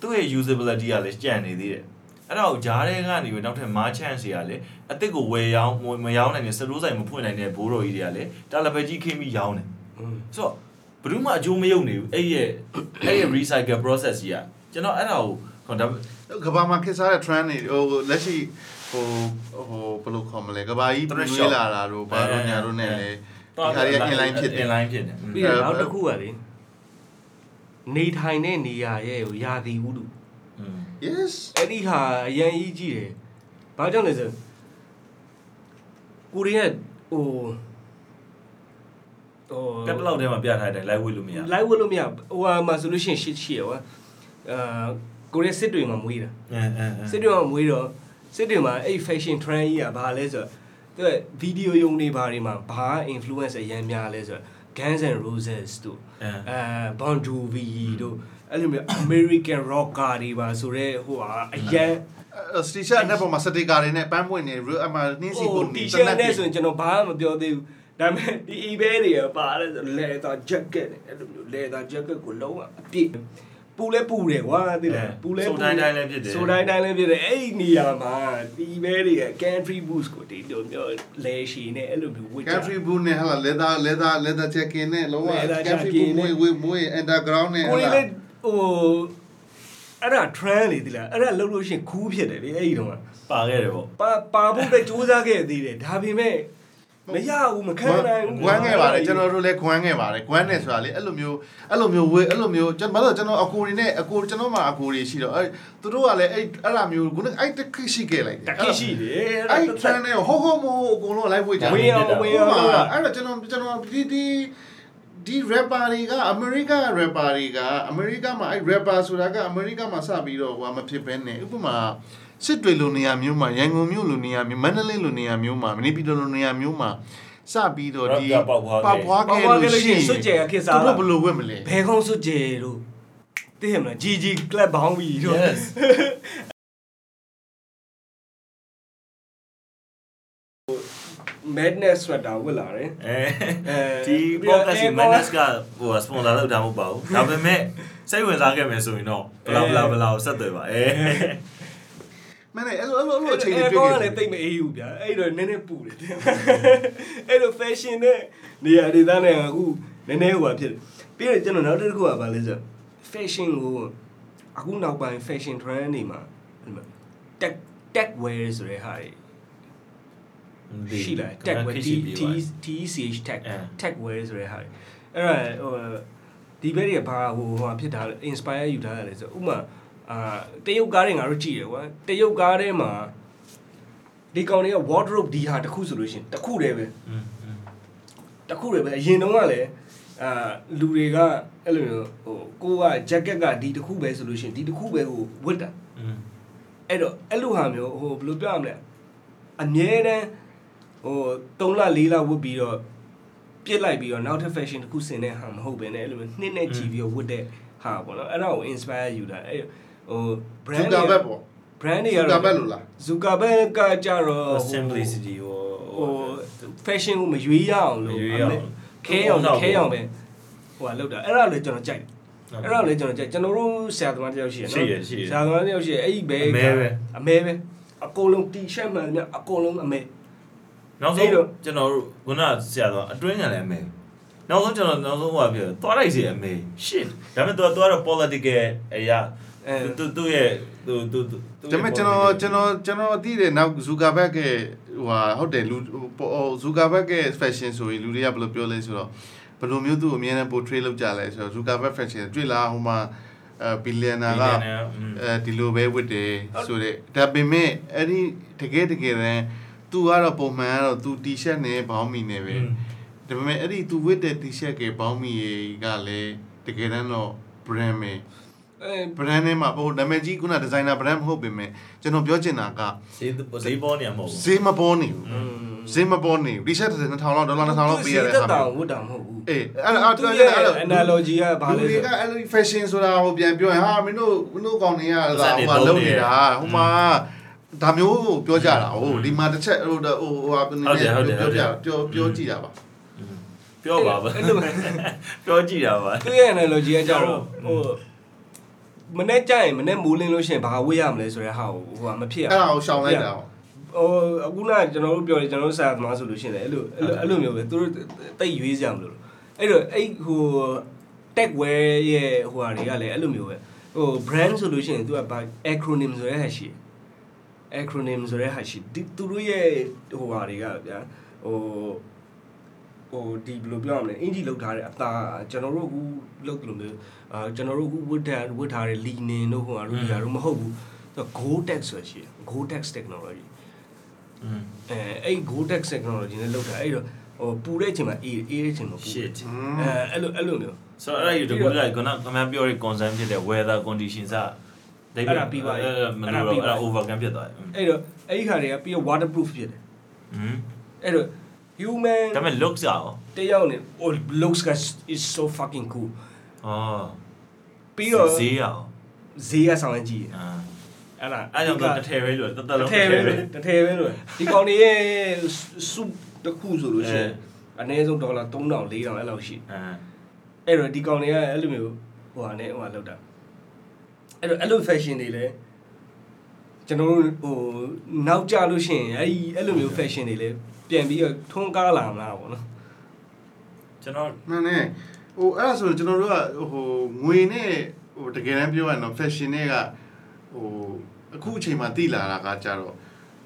သူ့ရဲ့ usability ကလည်းကြံ့နေသေးတယ်အဲ့ဒါကိုဂျားတဲ့ကနေပြီးနောက်ထပ် mar chance တွေကလည်းအစ်စ်ကိုဝယ်ရောင်းဝယ်မရောင်းနိုင်တဲ့စရိုးဆိုင်မဖွင့်နိုင်တဲ့ဘိုးတော်ကြီးတွေကလည်းတာလဘက်ကြီးခင်းပြီးရောင်းတယ်ဆိုတော့ဘယ်သူမှအကျိုးမရုပ်နေဘူးအဲ့ရဲ့အဲ့ရဲ့ recycle process ကြီးကကျွန်တော်အဲ့ဒါကိုဟိုဒါ ကဘာမှာခေတ်စားတဲ့ trend တွေဟိုလက်ရှိဟိုဟိုဘယ်လိုခေါ်မလဲကဘာကြီး Thread ပြွေး shop လာတာတို့ဘာတို့ညာတို့နဲ့လေ သွား ဒီဟာတွေက inline ဖြစ်တယ် inline ဖြစ်တယ်อืม ပြီးတော့နောက်တစ်ခုကလေနေထိုင်တဲ့နေရာရဲ့ဟိုရာသီဥတု yes အဲ့ဒီဟာအရန်ကြီးကြီးတယ်ဘာကြောင့်လဲဆိုကိုရီးယားဟိုဟို ကက်တလောက်ထဲမှာပြထားတယ် live weight လို့မရဘူး live ဝင်လို့မရဘူးဟိုဟာမှာဆိုလို့ရှိရင်ရှစ်ရှိရယ်ဟောအာကိုရီးယားစစ်တွေမှာမွေးတာ အင်းအင်းအင်း စစ်တွေမှာမွေးတော့စစ်တွေမှာအဲ့ fashion trend ကြီးကဘာလဲဆိုတော့သူကဗီဒီယိုယုံတွေဘာတွေမှာဘာ influence အရန်များလဲဆိုတော့ Guns and Roses တို့ အင်း အဲ Bon Jovi တို့အဲ့လိုမျိုး American rocker တွေပါဆိုတော့ဟိုဟာအရန် စတီရှာအနောက်ပေါ်မှာစတေကာတွေနဲ့ပန်းပွင့်နေရအမနင်းစီပုံ တီ နေ ရှပ်နဲ့ဆိုရင်ကျွန်တော်ဘာမှမပြောသေးဘူးဒါပေမဲ့ဒီ eBay တွေကပါတယ်ဆိုလဲတာ jacket နဲ့အဲ့လိုမျိုးလဲတာ jacket ကိုလုံးဝအပြည့်ပူလဲပူတယ်ကွာသိလားပူလဲဆိုတိုင်းတိုင်းလည်းဖြစ်တယ်အဲ့ဒီနေရာမှာဒီ eBay တွေက country boots ကိုဒီလိုမျိုးလဲရှည်နဲ့အဲ့လိုမျိုးဝတ် က ကြ န်ဖရီဘူးနဲ့ဟာလာလေဒါလေဒါလေဒါချက်ကင်းနဲ့လောက leather ကန်ဖရီ jacket ဘူးမွေးဝေးမွေးအန်ဒါဂရောင်းနဲ့ ကို ဟာလာရီးလေးဟိုအဲ့ဒါ trend လေသိလားအဲ့ဒါလုံးလို့ရှရင်ခူးဖြစ်တယ်လေအဲ့ဒီတော့ ပါခဲ့တယ်ပေါ့ ပါပါဖို့ပဲစူးစမ်းခဲ့သေးတယ်ဒါပေမဲ့မရဘူးမခံနိုင်ဘူး ဂွမ်းခဲ့ပါတယ်ကျွန်တော်တို့လည်းဂွမ်းခဲ့ပါတယ်ဂွမ်းနဲ့ဆိုတာလေအဲ့လိုမျိုးအဲ့လိုမျိုးဝေးအဲ့လိုမျိုးကျွန်တော်ဘာလို့လဲကျွန်တော်အကိုရီနဲ့အကိုကျွန်တော်မှာအကိုရီရှိတော့အဲ့သူတို့ကလည်းအဲ့အဲ့လိုမျိုးခုနကအဲ့တက်ခိရှိခဲ့လိုက်တယ် တကရှိတယ်အဲ့ အဲ့ ဒါ train နဲ့ဟိုဟိုမို့အကုန်လုံးလိုက်ဝေးကြတယ် ဝေးအောင်ဝေးအောင်လုပ်တာ အဲ့တော့ကျွန်တော်ကျွန်တော်ဒီဒီဒီ rapper တွေကအမေရိက rapper တွေကအမေရိကမှာအဲ့ rapper ဆိုတာကအမေရိကမှာစပြီးတော့ဟိုဟာမဖြစ်ဘဲနဲ့ဥပမာစစ်တွေလိုနေရာမျိုးမှာရန်ကုန်မြို့လိုနေရာမျိုးမန္တလေးလိုနေရာမျိုးမှာမနီပီတော်လိုနေရာမျိုးမှာစပြီးတော့ဒီပွားခဲ့လို့ရှိရင်သူတို့ဘယ်လိုဝတ်မလဲ ဘယ်ကောင်းစွတ်ကြဲလို့သိရမလား GG club ဘောင်းပြီးတော့ yes madness sweater ဝတ်လာတယ် ဒီ ပြီးတော့ podcast ကို Airpod- minus ကဟို sponsor လောက်တာမဟုတ်ပါဘူးဒါပေမဲ့စိတ်ဝင်စားခဲ့မယ်ဆိုရင်တော့ဘလောက်ဘလောက်ဘလောက်ဆက်သွယ်ပါအဲ မင်းလည်းအဲ့လိုအဲ့လိုအဲ့လိုအချိန် အဲ့ တွေ ကောင် တွေ့ခဲ့ကလည်းတိတ်မအေးဘူးဗျာအဲ့တော့နည်းနည်းပူတယ် တဲ့အဲ့တော့ fashion နဲ့နေရာဒေသနဲ့အခုနည်းနည်းဟိုပါဖြစ်တယ်ပြီးတော့ကျွန်တော်နောက်တစ်ခုကဘာလဲဆိုတော့ fashion ကိုအခုနောက်ပိုင်း fashion trend တွေမှာအဲ့လို tech tech wear ဆိုတဲ့ဟာတွေရှိလာတယ် tech wear T T T C H tech အဲ tech wear ဆိုတဲ့ဟာတွေအဲ့ဒါဟိုဒီဘက်တွေကဘာဟိုဟိုဟာဖြစ်တာလဲ inspire ယူထားရလဲဆိုတော့ဥပမာအာတရုတ်ကားတွေငါတို့ကြည့်တယ်ကွာတရုတ်ကားထဲမှာ ဒီကောင်တွေက wardrobe ဒီဟာတစ်ခုဆိုလို့ရှရင်တစ်ခုတည်းပဲ อืมอืม တစ်ခုတည်းပဲအရင်တုန်းကလည်းအာလူတွေကအဲ့လိုမျိုးဟိုကိုက jacket ကဒီတစ်ခုပဲဆိုလို့ရှရင်ဒီတစ်ခုပဲကိုဝတ်တာ อืม အဲ့တော့အဲ့လိုဟာမျိုးဟိုဘယ်လိုပြောရမလဲအမြဲတမ်းဟို3လ4လဝတ်ပြီးတော့ပြစ်လိုက်ပြီးတော့နောက်ထပ် fashion တစ်ခုဆင်တဲ့ဟာမဟုတ်ဘဲနဲ့အဲ့လိုမျိုးနှစ်နဲ့ကြည်ပြီးတော့ဝတ်တဲ့ဟာပေါ့နော်အဲ့ဒါကို inspire ယူတာအဲ့ဟို ဒူ brand ကာဘ တွေ က်ပေါ့ brand တွေ ဒူကာဘက် ကတော့ လို့လား Zuckerberg ကကြတော့ဟို simplicity ဟို ဟို fashion ကိုမရွေးရအောင်လို့ ရွေးရအောင် ခဲအောင်ခဲအောင်ပဲဟိုကလောက်တာအဲ့ဒါလည်းကျွန်တော်ကြိုက်တယ်အဲ့ဒါလည်းကျွန်တော်ကြိုက်ကျွန်တော်တို့ဆရာသမားတစ်ယောက်ရှိရနော် ရှိရရှိရ ဆရာသမားတစ်ယောက်ရှိရအဲ့ဒီဘဲ အမဲပဲ အမဲပဲအကုန်လုံး t-shirt မှန်တယ်မြတ်အကုန်လုံးအမဲ နောက် အဲ့ ဆုံး တော့ ကျွန်တော်တို့ခုနဆရာတော်အတွင်းကလည်းအမေနောက်ဆုံးကျွန်တော်နောက်ဆုံးဟိုပါပြောသွားလိုက်စီအမေ shit ဒါပေမဲ့ तू က तू ကတော့ political အရာ အဲ तू तू ရဲ့ तू तू तू ဒါပေမဲ့ကျွန်တော်ကျွန်တော်ကျွန်တော်သိတယ်နောက်ဇူကာဘက်ကဟိုဟာဟုတ်တယ်လူဟိုဇူကာဘက်က fashion ဆိုရင်လူတွေကဘယ်လိုပြောလဲဆိုတော့ဘယ်လိုမျိုးသူ့ကိုအမြဲတမ်း portray လုပ်ကြလဲဆိုတော့ဇူကာဘက် fashion တွေ့လားဟိုမှာအဲ billionaire က Billionaire อืม အဲဒီလိုပဲဝတ်တယ်ဆိုတော့ဒါပေမဲ့အဲ့ဒီတကယ်တကယ်တမ်း तू ကတော့ပုံမှန်ကတော့ तू t-shirt နဲ့ဘောင်းမီနဲ့ပဲ อืม ဒါပေမဲ့အဲ့ဒီ तू ဝတ်တဲ့ t-shirt ကဘောင်းမီရေကလည်းတကယ်တမ်းတော့ brand ပဲ အဲ brand နဲ့မှာဟိုနာမည်ကြီးခုန designer brand မဟုတ်ပေမဲ့ကျွန်တော်ပြောချင်တာက ဈေးဈေးပေါ်နေရမဟုတ်ဘူး ဈေးမပေါ်နေဘူးဈေးမပေါ်နေဘူး t-shirt တစ်စက်2000လောက်ဒေါ်လာ2000လောက်ပေးရတဲ့ သူ ဟာ စီးတော မျိုး င်ဝတ်တာမဟုတ်ဘူး အေးအဲ့ဒါအဲ့ သူ ဒါ ရဲ့ အဲ့ဒါအဲ့ဒါ analogy ကဘာလဲ လူ ဆို တွေက တော့ အဲ့လို fashion ဆိုတာဟိုပြန်ပြောရင်ဟာမင်းတို့မင်းတို့ကောင်တွေကဒါဟိုမှာလုပ်နေတာဟိုမှာဒါမျိုးကိုပြောကြတာဟိုဒီမှာတစ်ချက်ဟိုဟိုဟိုဟာပြောကြပြောပြောကြည့်တာပါ อืมပြောပါဘာ အဲ့လိုပဲ ပြောကြည့်တာပါ သူ့ရဲ့ analogy ကကြတော့ဟိုမနေ့ကြရင်မနေ့မိုးလင်းလို့ရှရင်ဘာဝေးရမလဲဆိုတဲ့ဟာကိုဟိုကမဖြစ်ရ အဲ့ဒါကိုဘူးရှောင်လိုက်တာပေါ့ ဟိုအခုနကကျွန်တော်တို့ပြောတယ်ကျွန်တော်တို့ဆရာသမားဆိုလို့ရှိရင်လည်းအဲ့လိုအဲ့လိုအဲ့လိုမျိုးပဲသူတို့တိတ်ရွေးစရာမလိုလို့အဲ့တော့အဲ့ဟို tech wear ရဲ့ဟိုဟာတွေကလည်းအဲ့လိုမျိုးပဲဟို brand ဆိုလို့ရှိရင်သူကဘာ acronym ဆိုတဲ့ဟာရှိတယ် acronym ဆိုတဲ့ဟာရှိတယ်ဒီသူတို့ရဲ့ဟိုဟာတွေကဗျာဟို ဟိုဒီဘယ်လိုပြောရမလဲအင်ဂျီလောက်ထားတဲ့အသားကျွန်တော်တို့အခုလောက်တယ်လို့မျိုးအာကျွန်တော်တို့အခုဝတ်ထားဝတ်ထားတဲ့ linen တို့ဟိုဟာတို့ဒီဟာတို့မဟုတ်ဘူးသူက Gore-Tex ဆိုရှိတယ် Gore-Tex technology อืม အဲအဲ့ Gore-Tex technology နဲ့လောက်တာအဲ့တော့ဟိုပူတဲ့အချိန်မှာအေးအေးတဲ့အချိန်မှာပူ shit အဲအဲ့လိုအဲ့လိုမျိုး ဆိုတော့အဲ့ဒါယူတကူလိုက်ကနကမန်ပြောရ concern ဖြစ်တဲ့ weather condition စ အဲ့ဒါပြီးပါပြီ အဲ့ဒါမ အဲ့ လို့ ဒါပြီး တော့ ပါ အဲ့ဒါ overcome ပြီဖြစ်သွားတယ် အဲ့တော့အဲ့ဒီခါတွေကပြီးတော့ waterproof ဖြစ်တယ် อืม အဲ့တော့ human ဒါပေမဲ့ looks ရော တယောက်နဲ့ oh looks guys is so fucking cool အော် ပြီးတော့ ဈေးရော ဈေးကဆောင်ရင်ကြည့်ရ အာ အဲ့ဒါ အဲ့ဒါကြောင့်တော့ဒီက တစ်ထည်ပဲလို့တသက် တ လုံး ထဲပဲတထဲပဲလို့ဒီကောင်တွေရဲ့စုတစ်ခုဆိုလို့ရှိရင် အဲ အနည်းဆုံးဒေါ်လာ3000 4000အဲ့လောက်ရှိ အာ အဲ့တော့ဒီကောင်တွေကအဲ့လိုမျိုးဟိုဟာနဲ့ဟိုဟာလောက်တာအဲ့တော့အဲ့လို fashion တွေလည်းကျွန်တော်တို့ဟိုနောက်ကြလို့ရှိရင်အဲ့ဒီအဲ့လိုမျိုး fashion တွေလည်းပြန်ပြီးတော့ထွန်းကားလာမှာပေါ့နော် ကျွန်တော် မှန်တယ်ဟိုအဲ့ဒါဆိုကျွန်တော်တို့ကဟိုငွေနဲ့ဟိုတကယ်တမ်းပြောရရင်တော့ fashion တွေကဟိုအခုအချိန်မှာတည်လာတာကကြတော့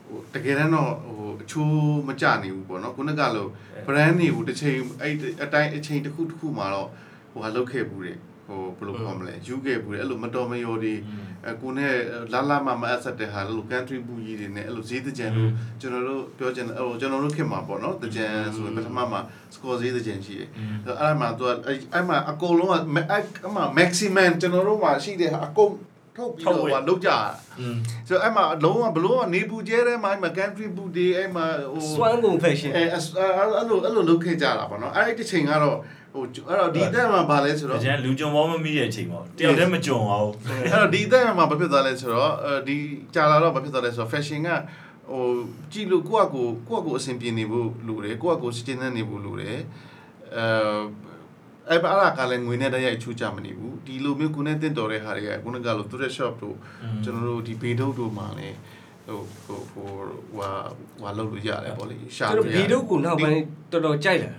ဟိုတကယ်တမ်းတော့ဟိုအချိုးမကြနေဘူးပေါ့နော်ခုနကလို brand နေဘူးတစ်ချိန်အဲ့အတိုင်းအချိန်တစ်ခုတစ်ခုမှာတော့ဟိုဟာလောက်ခဲ့ဘူးတဲ့ဟိုဘယ်လိုပြောမလဲယူခဲ့ဘူးတဲ့အဲ့လိုမတော်မရော်တွေအကူနဲ့လာလာမမအဆက်တဲ့ဟာလို့ country ဘူးကြီးတွေနဲ့အဲ့လိုဈေးတကြံလို့ ကျွန်တော်တို့ပြောချင်တယ်ဟိုကျွန်တော်တို့ခင်မှာပေါ့နော်တကြံဆိုရင်ပထမမှာစကောဈေးတကြံရှိတယ်အဲ့အဲ့မှာသူကအဲ့အဲ့မှာအကုန်လုံးကမအဲ့အဲ့မှာ maximum ကျွန်တော်တို့မှာရှိတဲ့ဟာအကုန်ထုတ်ပြီးတော့ဟိုကလောက်ကြတာ อืม ဆိုတော့အဲ့မှာအလုံးကဘလို့ကနေပူကျဲတဲ့မှာအဲ့မှာ country ဘူးတွေအဲ့မှာဟို စွမ်းကုန် fashion အဲအဲ့လိုအဲ့လိုလုပ်ခဲ့ကြတာပေါ့နော်အဲ့ဒီတစ်ချိန်ကတော့ဟိုအဲ့တော့ဒီအသက်မှာဗာလဲဆို ဆို တော့ တော့ကျန်လူကြုံပေါင်းမမိတဲ့အချိန်ပေါ့တယောက်တည်းမကြုံအောင် အဲ့တော့ဒီအသက်မှာဘာဖြစ်သွားလဲဆိုတော့အဲဒီကြာလာတော့ဘာဖြစ်သွားလဲဆိုတော့ fashion ကဟိုကြည့်လို့ကိုယ့်အကိုကိုယ့်အကိုအဆင်ပြေနေဖို့လိုတယ်ကိုယ့်အကိုစဉ်းစားနေဖို့လိုတယ်အဲအဲ့ဘာလာကလည်းငွေနဲ့တည်းရိုက်ချူကြမနေဘူးဒီလိုမျိုးကိုယ်နဲ့တင့်တော်တဲ့ဟာတွေကကိုယ်ကလို့သူတဲ့ shop တို့ကျွန်တော်တို့ဒီဘေးဒုတ်တို့မှာလည်းဟိုဟိုဟိုဟွာဟွာလောက်လို့ရတယ်ပေါ့လေရှာ ကျွန် လို့ တော် ရတယ် ဗီဒိုကိုနောက်ပိုင်းတော်တော်ကြိုက်လာ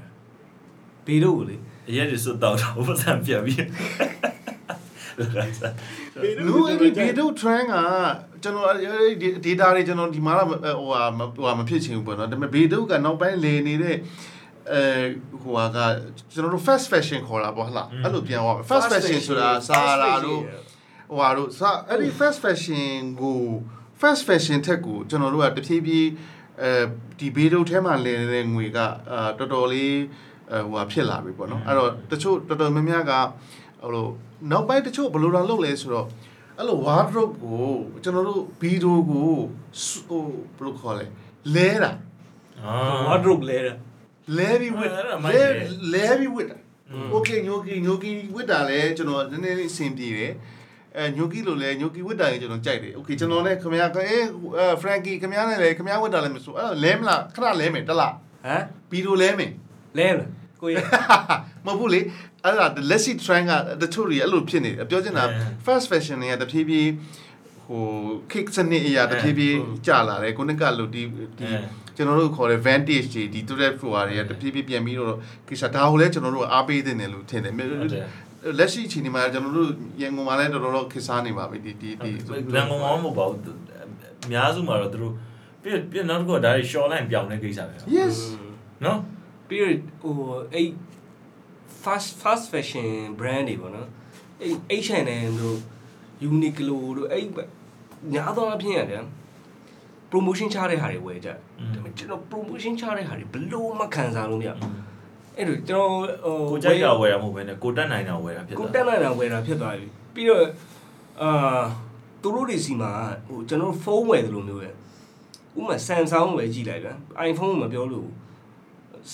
ဗီဒိုကိုလေ အရက်တွေစွတ်တော့တော့ပတ်စံပြတ်ပြီး လူအဲ့ဒီ video trend ကကျွန်တော်အဲ့ဒီ data တွေကျွန်တော်ဒီမှာတော့ဟိုဟာမဟိုဟာမဖြစ်ချင်ဘူးပေါ့နော်ဒါပေမဲ့ video ကနောက်ပိုင်းလေနေတဲ့အဲဟိုဟာကကျွန်တော်တို့ fast fashion ခေါ်တာပေါ့ဟလားအဲ့လိုပြန်ဟော fast fashion ဆိုတာစာရာတို့ဟိုဟာတို့စာအဲ့ဒီ fast fashion ကို fast fashion ထက်ကိုကျွန်တော်တို့ကတဖြည်းဖြည်းအဲဒီ video ထဲမှာလေနေတဲ့ငွေကအာတော်တော်လေးအဲဟိုဟာဖြစ်လာပြီပေါ့နော်အဲ့တော့တချို့တော်တော်များများက ဟိုလိုနောက်ပိုင်းတချို့ဘယ်လိုတော့လုပ်လဲဆိုတော့အဲ့လို wardrobe ကိုကျွန်တော်တို့ဘီဒိုကိုစုဟိုဘယ်လိုခေါ်လဲလဲတာ အာ ဝါဒရုပ်လဲတာ လဲပြီးဝတ် အဲ့ဒါမိုက် လဲ တယ် လဲပြီးဝတ်တာ okay ညိုကီညိုကီဝတ်တာလဲကျွန်တော်နည်းနည်းလေးအဆင်ပြေတယ်အဲညိုကီလိုလဲညိုကီဝတ်တာလည်းကျွန်တော်ကြိုက်တယ် okay ကျွန်တော်နဲ့ခမရအဲဖရန်ကီခမရနဲ့လဲခမရဝတ်တာလည်းမဆိုအဲ့တော့လဲမလားခဏလဲမယ်တစ်လား ဟမ် ဘီဒိုလဲမယ် လဲမလားကိုရဲ့ မဟုတ်ဘူးလေအဲ့ဒါ the lessy trend ကတချို့တွေအဲ့လိုဖြစ်နေတယ်ပြောချင်တာ အဲ fast fashion တွေကတဖြည်းဖြည်းဟို kick စနစ်အရာတဖြည်းဖြည်းကျလာတယ်ကိုနစ်ကလို့ဒီဒီ အဲ ကျွန်တော်တို့ခေါ်တဲ့ vantage တွေဒီ thread flow တွေကတဖြည်းဖြည်းပြန်ပြီးတော့ကိစ္စဒါကိုလည်းကျွန်တော်တို့ကအားပေးသင့်တယ်လို့ထင်တယ်မြေ ဟုတ်တယ် လက်ရှိအချိန်ဒီမှာကျွန်တော်တို့ရန်ကုန်မှာလည်းတော်တော်တော့ခေတ်စားနေပါပြီဒီဒီဒီ လမ်းကောင်းမဟုတ်ပါဘူးအများစုမှာတော့သူတို့ပြည့်ပြည့်နောက်တစ်ခုကဒါတွေ short line ပြောင်းတဲ့ကိစ္စပဲ yes နော် period ဟိုအဲ့ fast fast fashion brand တွေပေါ့နော်အဲ့ H&M တို့ Uniqlo တို့အဲ့ညာတော့အဖြစ်ရတယ် promotion ချတဲ့ဟာတွေဝယ်ကြတယ် อืม ဒါပေမဲ့ကျွန်တော် promotion ချတဲ့ဟာတွေဘလို့မခံစားလို့မရအဲ့တော့ကျွန်တော်ဟို ကိုကြိုက်တာဝယ်တာမဟုတ်ဘဲနဲ့ကိုတက်နိုင်တာဝယ်တာဖြစ်တာ ကိုတက်လိုက်တာဝယ်တာဖြစ်သွားပြီပြီးတော့အာသူတို့တွေစီမှာဟိုကျွန်တော်ဖုန်းဝယ်တယ်လို့မျိုးပဲဥပမာ Samsung ဝယ်ကြည့်လိုက်ဗျာ iPhone ကိုမပြောလို့ဘူး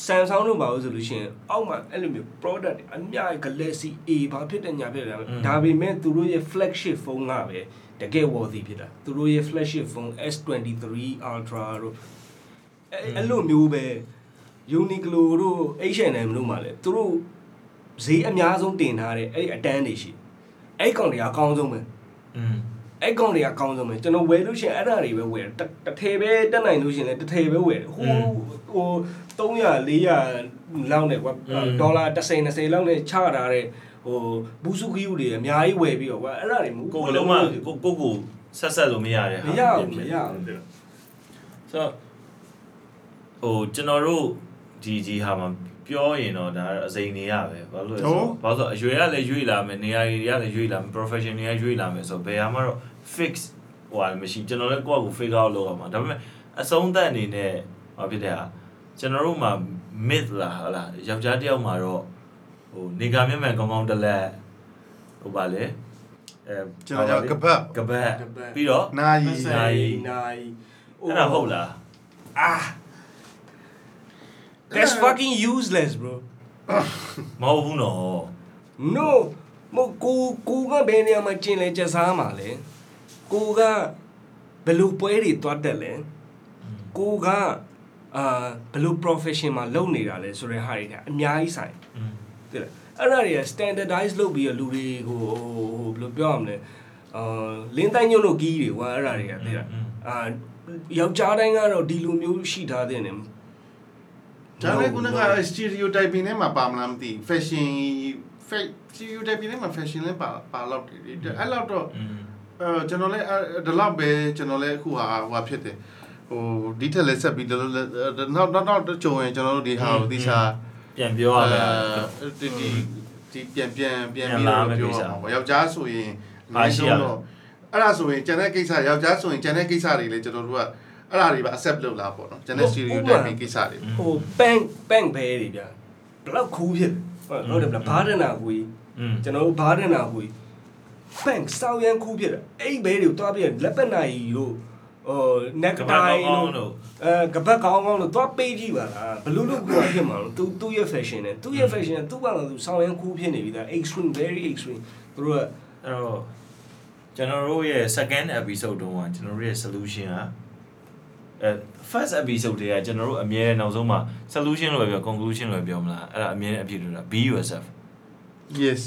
Samsung တို့ပါလို့ဆိုလို့ရှိရင်အောက်မှာအဲ့လိုမျိုး product တွေအများကြီး Galaxy A ဘာဖြစ်တယ်ညာဖြစ်တယ်ဒါပေမဲ့သူတို့ရဲ့ flagship phone ကပဲတကယ် worthy ဖြစ်တာသူတို့ရဲ့ flagship phone S23 Ultra တို့အဲ့အဲ့လိုမျိုးပဲ Uniqlo တို့ H&M တို့မှာလည်းသူတို့ဈေးအများဆုံးတင်ထားတဲ့အဲ့ဒီအတန်းတွေရှိအဲ့ကောင်တွေကအကောင်းဆုံးပဲ อืม အဲ့ကောင်တွေကအကောင်းဆုံးပဲကျွန်တော်ဝယ်လို့ရှိရင်အဲ့ဒါတွေပဲဝယ်တယ်တစ်ထည်ပဲတက်နိုင်လို့ရှိရင်လည်းတစ်ထည်ပဲဝယ်တယ်ဟိုဟို300 400လောက်နဲ့ကွာဒေါ်လာ10 20လောက်နဲ့ချထားတဲ့ဟိုဘူးစုကီးယူတွေအများကြီးဝယ်ပြီးတော့ကွာအဲ့ဒါတွေမဟုတ် ကို ဘူး ကလုံးမကိုကိုကိုဆက်ဆက်လို့မရတဲ့ မရဘူးမရဘူး ဆိုတော့ဟိုကျွန်တော်တို့ဒီဒီဟာမှာ ပြောရင်တော့ဒါကတော့အစိမ်နေရပဲဘာလို့လဲဆို ဟုတ် တော့ဘာလို့လဲဆိုတော့အရွယ်ကလည်းရွေ့လာမယ်နေရာကြီးတွေကလည်းရွေ့လာမယ် profession တွေကရွေ့လာမယ်ဆိုတော့ဘယ်ဟာမှတော့ fix ဟိုဟာမရှိကျွန်တော်လည်းကိုယ့်အကို figure out လုပ်ရမှာဒါပေမဲ့အဆုံးသတ်အနေနဲ့ဘာဖြစ်တဲ့ဟာကျွန်တော်တို့မှာ myth လားဟုတ်လားယောက်ျားတစ်ယောက်မှာတော့ဟိုနေကမျက်မှန်ကောင်းကောင်းတစ်လက်ဟိုပါလေအဲ ကျွန်တော်ကကပတ် ကပတ် ကပတ် ပြီးတော့ နာယီ နာရီ နိုင် အဲ့ဒါဟုတ်လား Ah. That's fucking useless, bro. မဟုတ်ဘူးနော် No. မဟုတ်ကိုကိုကဘယ်နေရာမှာကျင်လဲကျက်စားမှာလဲကိုကဘယ်လိုပွဲတွေတွားတက်လဲကိုကအာဘယ်လို profession မှာလုပ်နေတာလဲဆိုတဲ့ဟာတွေကအများကြီးဆိုင် อืม တဲ့လားအဲ့ဒါတွေက standardize လုပ်ပြီးတော့လူတွေကိုဟိုဟိုဘယ်လိုပြောရမလဲအာလင်းတိုင်းညွန့်လို့ကြီးတွေကွာအဲ့ဒါတွေကသိလား อืม အာယောက်ျားတိုင်းကတော့ဒီလိုမျိုးရှိထားတဲ့ဒါလညနေ်းခုနက stereotyping နဲ့မှာပါမလားမသိဘူး fashion fake stereotyping နဲ့မှာ fashion လည်းပါပါလောက်တယ်လေဒါအဲ့လောက်တော့ อืม အဲကျွန်တော်လည်းအဲ့ဒီလောက်ပဲကျွန်တော်လည်းအခုဟာဟိုဟာဖြစ်တယ်ဟိုဒီထက်လည်းဆက်ပြီးဒီလိုလည်းအဲနောက်နောက်နောက်ကြုံရင်ကျွန်တော်တို့ဒီဟာကို อืม သီချာ ပြန်ပြောရမယ် အဲဒီဒီဒီပြန်ပြန်ပြန် ပြန် ပြီး လာ တော့ မယ့် ပြော ကိစ္စ ရမှာပေါ့ယောက်ျားဆိုရင် ပါရှိရမယ် အဲ့ဒါဆိုရင်ကျန်တဲ့ကိစ္စယောက်ျားဆိုရင်ကျန်တဲ့ကိစ္စတွေလည်းကျွန်တော်တို့ကအဲ့ဒါတွေပါ accept လုပ်လာပေါ့နော်ကျန်တဲ့ stereotyping ကိစ္စတွေ ဟို bank bank ဘဲတွေဗျာဘယ်လောက်ခိုးဖြစ်လဲဟုတ်တယ်ဗျာဘာဒနာကိုကြီး อืม ကျွန်တော်တို့ဘာဒနာကိုကြီး bank စောင်းရန်ခိုးဖြစ်တယ်အဲ့ဒီဘဲတွေကိုတွားပြီးတော့လက်ပတ်နိုင်တို့ဟို neck ကမ္ဘာကော tie င်းကောင်း တို့ တို့ အဲကပတ်ကောင်းကောင်းလို့သွားပေးကြည့်ပါလားဘယ်လို့လို့ကိုယ်ကဖြစ်မှာလို့ तू သူ့ရဲ့ fashion နဲ့သူ့ရဲ့ fashion နဲ့သူ့ဘာလို့သူဆောင်းရမ်းခိုးဖြစ်နေပြီသား extreme very extreme သူတို့က အဲ့တော့ကျွန်တော်တို့ရဲ့ second episode တုန်းကကျွန်တော်တို့ရဲ့ solution ကအဲ first episode တွေကကျွန်တော်တို့အမြဲနောက်ဆုံးမှာ solution လို့ပဲပြော conclusion လို့ပဲပြောမလားအဲ့ဒါအမြဲအဖြစ်လို့လား be yourself yes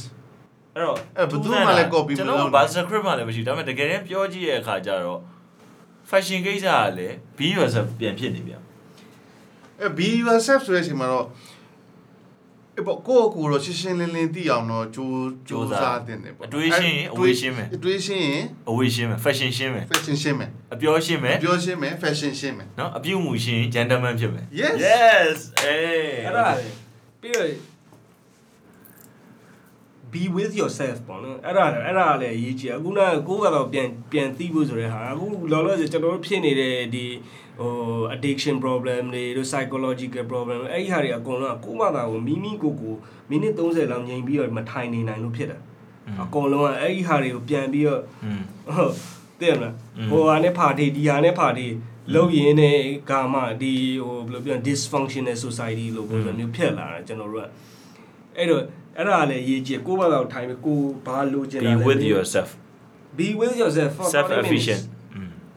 အဲ့တော့ အဲ့ဘယ်သူမှလည်း copy မကျွလုပ်န်တော်တို့ buzz script မှလည်းမရှိဘူးဒါပေမဲ့တကယ်တမ်းပြောကြည့်ရတဲ့အခါကျတော့ fashion ကိစ္စကလည်း be yourself ပြန်ဖြစ်နေပြန် အဲ be yourself ဆိုတဲ့အချိန်မှာတော့အဲ့ပေါ့ကိုယ့်ကိုယ်တော့ရှင်းရှင်းလင်းလင်းသိအောင်တော့ကြိုးကြိုးစားတင်တယ်ပေါ့ အတွေးရှင်းရင်အဝေးရှင်းမယ် အတွေးရှင်းရင် အဝေးရှင်းမယ် fashion ရှင်းမယ် fashion ရှင်းမယ် အပြောရှင်းမယ် ပြောရှင်းမယ် fashion ရှင်းမယ် နော်အပြုတ်မှုရှင်းရင် gentleman ဖြစ်မယ် Yes yes အေး အဲ့ဒါပြီးတော့ be with yourself ပေါ့နော်အဲ့ဒါလည်းအဲ့ဒါလည်းအရေးကြီးတယ်အခုနကကိုယ်ကတော့ပြန်ပြန်သိဖို့ဆိုတဲ့ဟာအခုလောလောဆယ်ကျွန်တော်တို့ဖြစ်နေတဲ့ဒီဟို addiction problem တွေတို့ psychological problem တွေအဲ့ဒီဟာတွေအကုန်လုံးကကိုယ့်ဘာသာကိုမိမိကိုယ်ကိုမိနစ်30လောက်ငြိမ်ပြီးတော့မထိုင်နေနိုင်လို့ဖြစ်တာ အကုန်လုံးကအဲ့ဒီဟာတွေကိုပြန်ပြီးတော့ อืม ဟုတ်သိရမလား อืม ဟိုဟာနဲ့ဖာတီဒီဟာနဲ့ဖာတီလုံရင်းနဲ့ကာမဒီဟိုဘယ်လိုပြောလဲ dysfunctional society လို့ပုံစံမျိုးဖြစ်လာတာကျွန်တော်တို့ကအဲ့တော့အဲ့ဒါလည်းအရေးကြီးတယ်ကိုယ့်ဘာသာကိုထိုင်ပြီးကိုယ်ဘာလိုချင်တာ be လဲ with yourself be with yourself for 30 self minutes. efficient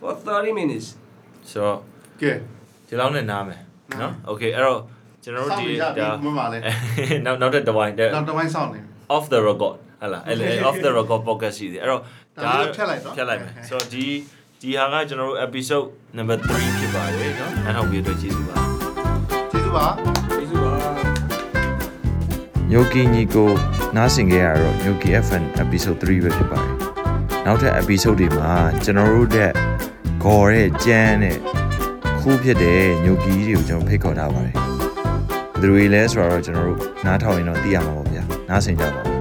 for 30 minutes ဆိုတော့ ကဲ ဒီလောက်နဲ့နားမယ် နားမယ် နော် okay အဲ့တော့ကျွန်တော်တို့ဒီ စောင့်နေကြ ဒါ ပြီမမလည်း နောက်နောက်တစ်တစ်ဝိုင်းတဲ့ နောက်တစ်ပိုင်းစောင့်နေ off the record ဟတ်လာအဲ့လေ off the record podcast ရှိတယ်အဲ့တော့ ဒါလေးဖြတ်လိုက်နော် ဖြတ်လိုက်မယ်ဆိုတော့ဒီဒီဟာကကျွန်တော်တို့ episode number 3ဖြစ်ပါတယ်နော်အဲ့တော့ဒီအတွက်ကျေးဇူးပါ ကျေးဇူးပါ ကျေးဇူးပါ ညိုကီညီကိုနားဆင်ကြရတော့ညိုကီ FM episode 3ပဲဖြစ်ပါတယ်။နောက်ထပ် episode တွေမှာကျွန်တော်တို့တဲ့ဂေါ်တဲ့ကြမ်းတဲ့ခုဖြစ်တဲ့ညိုကီတွေကိုကျွန်တော်ဖိတ်ခေါ်ထားပါတယ်။ဘယ်သူတွေလဲဆိုတော့ကျွန်တော်တို့နားထောင်ရင်တော့သိရမှာပေါ့ဗျာ။နားဆင်ကြပါဦး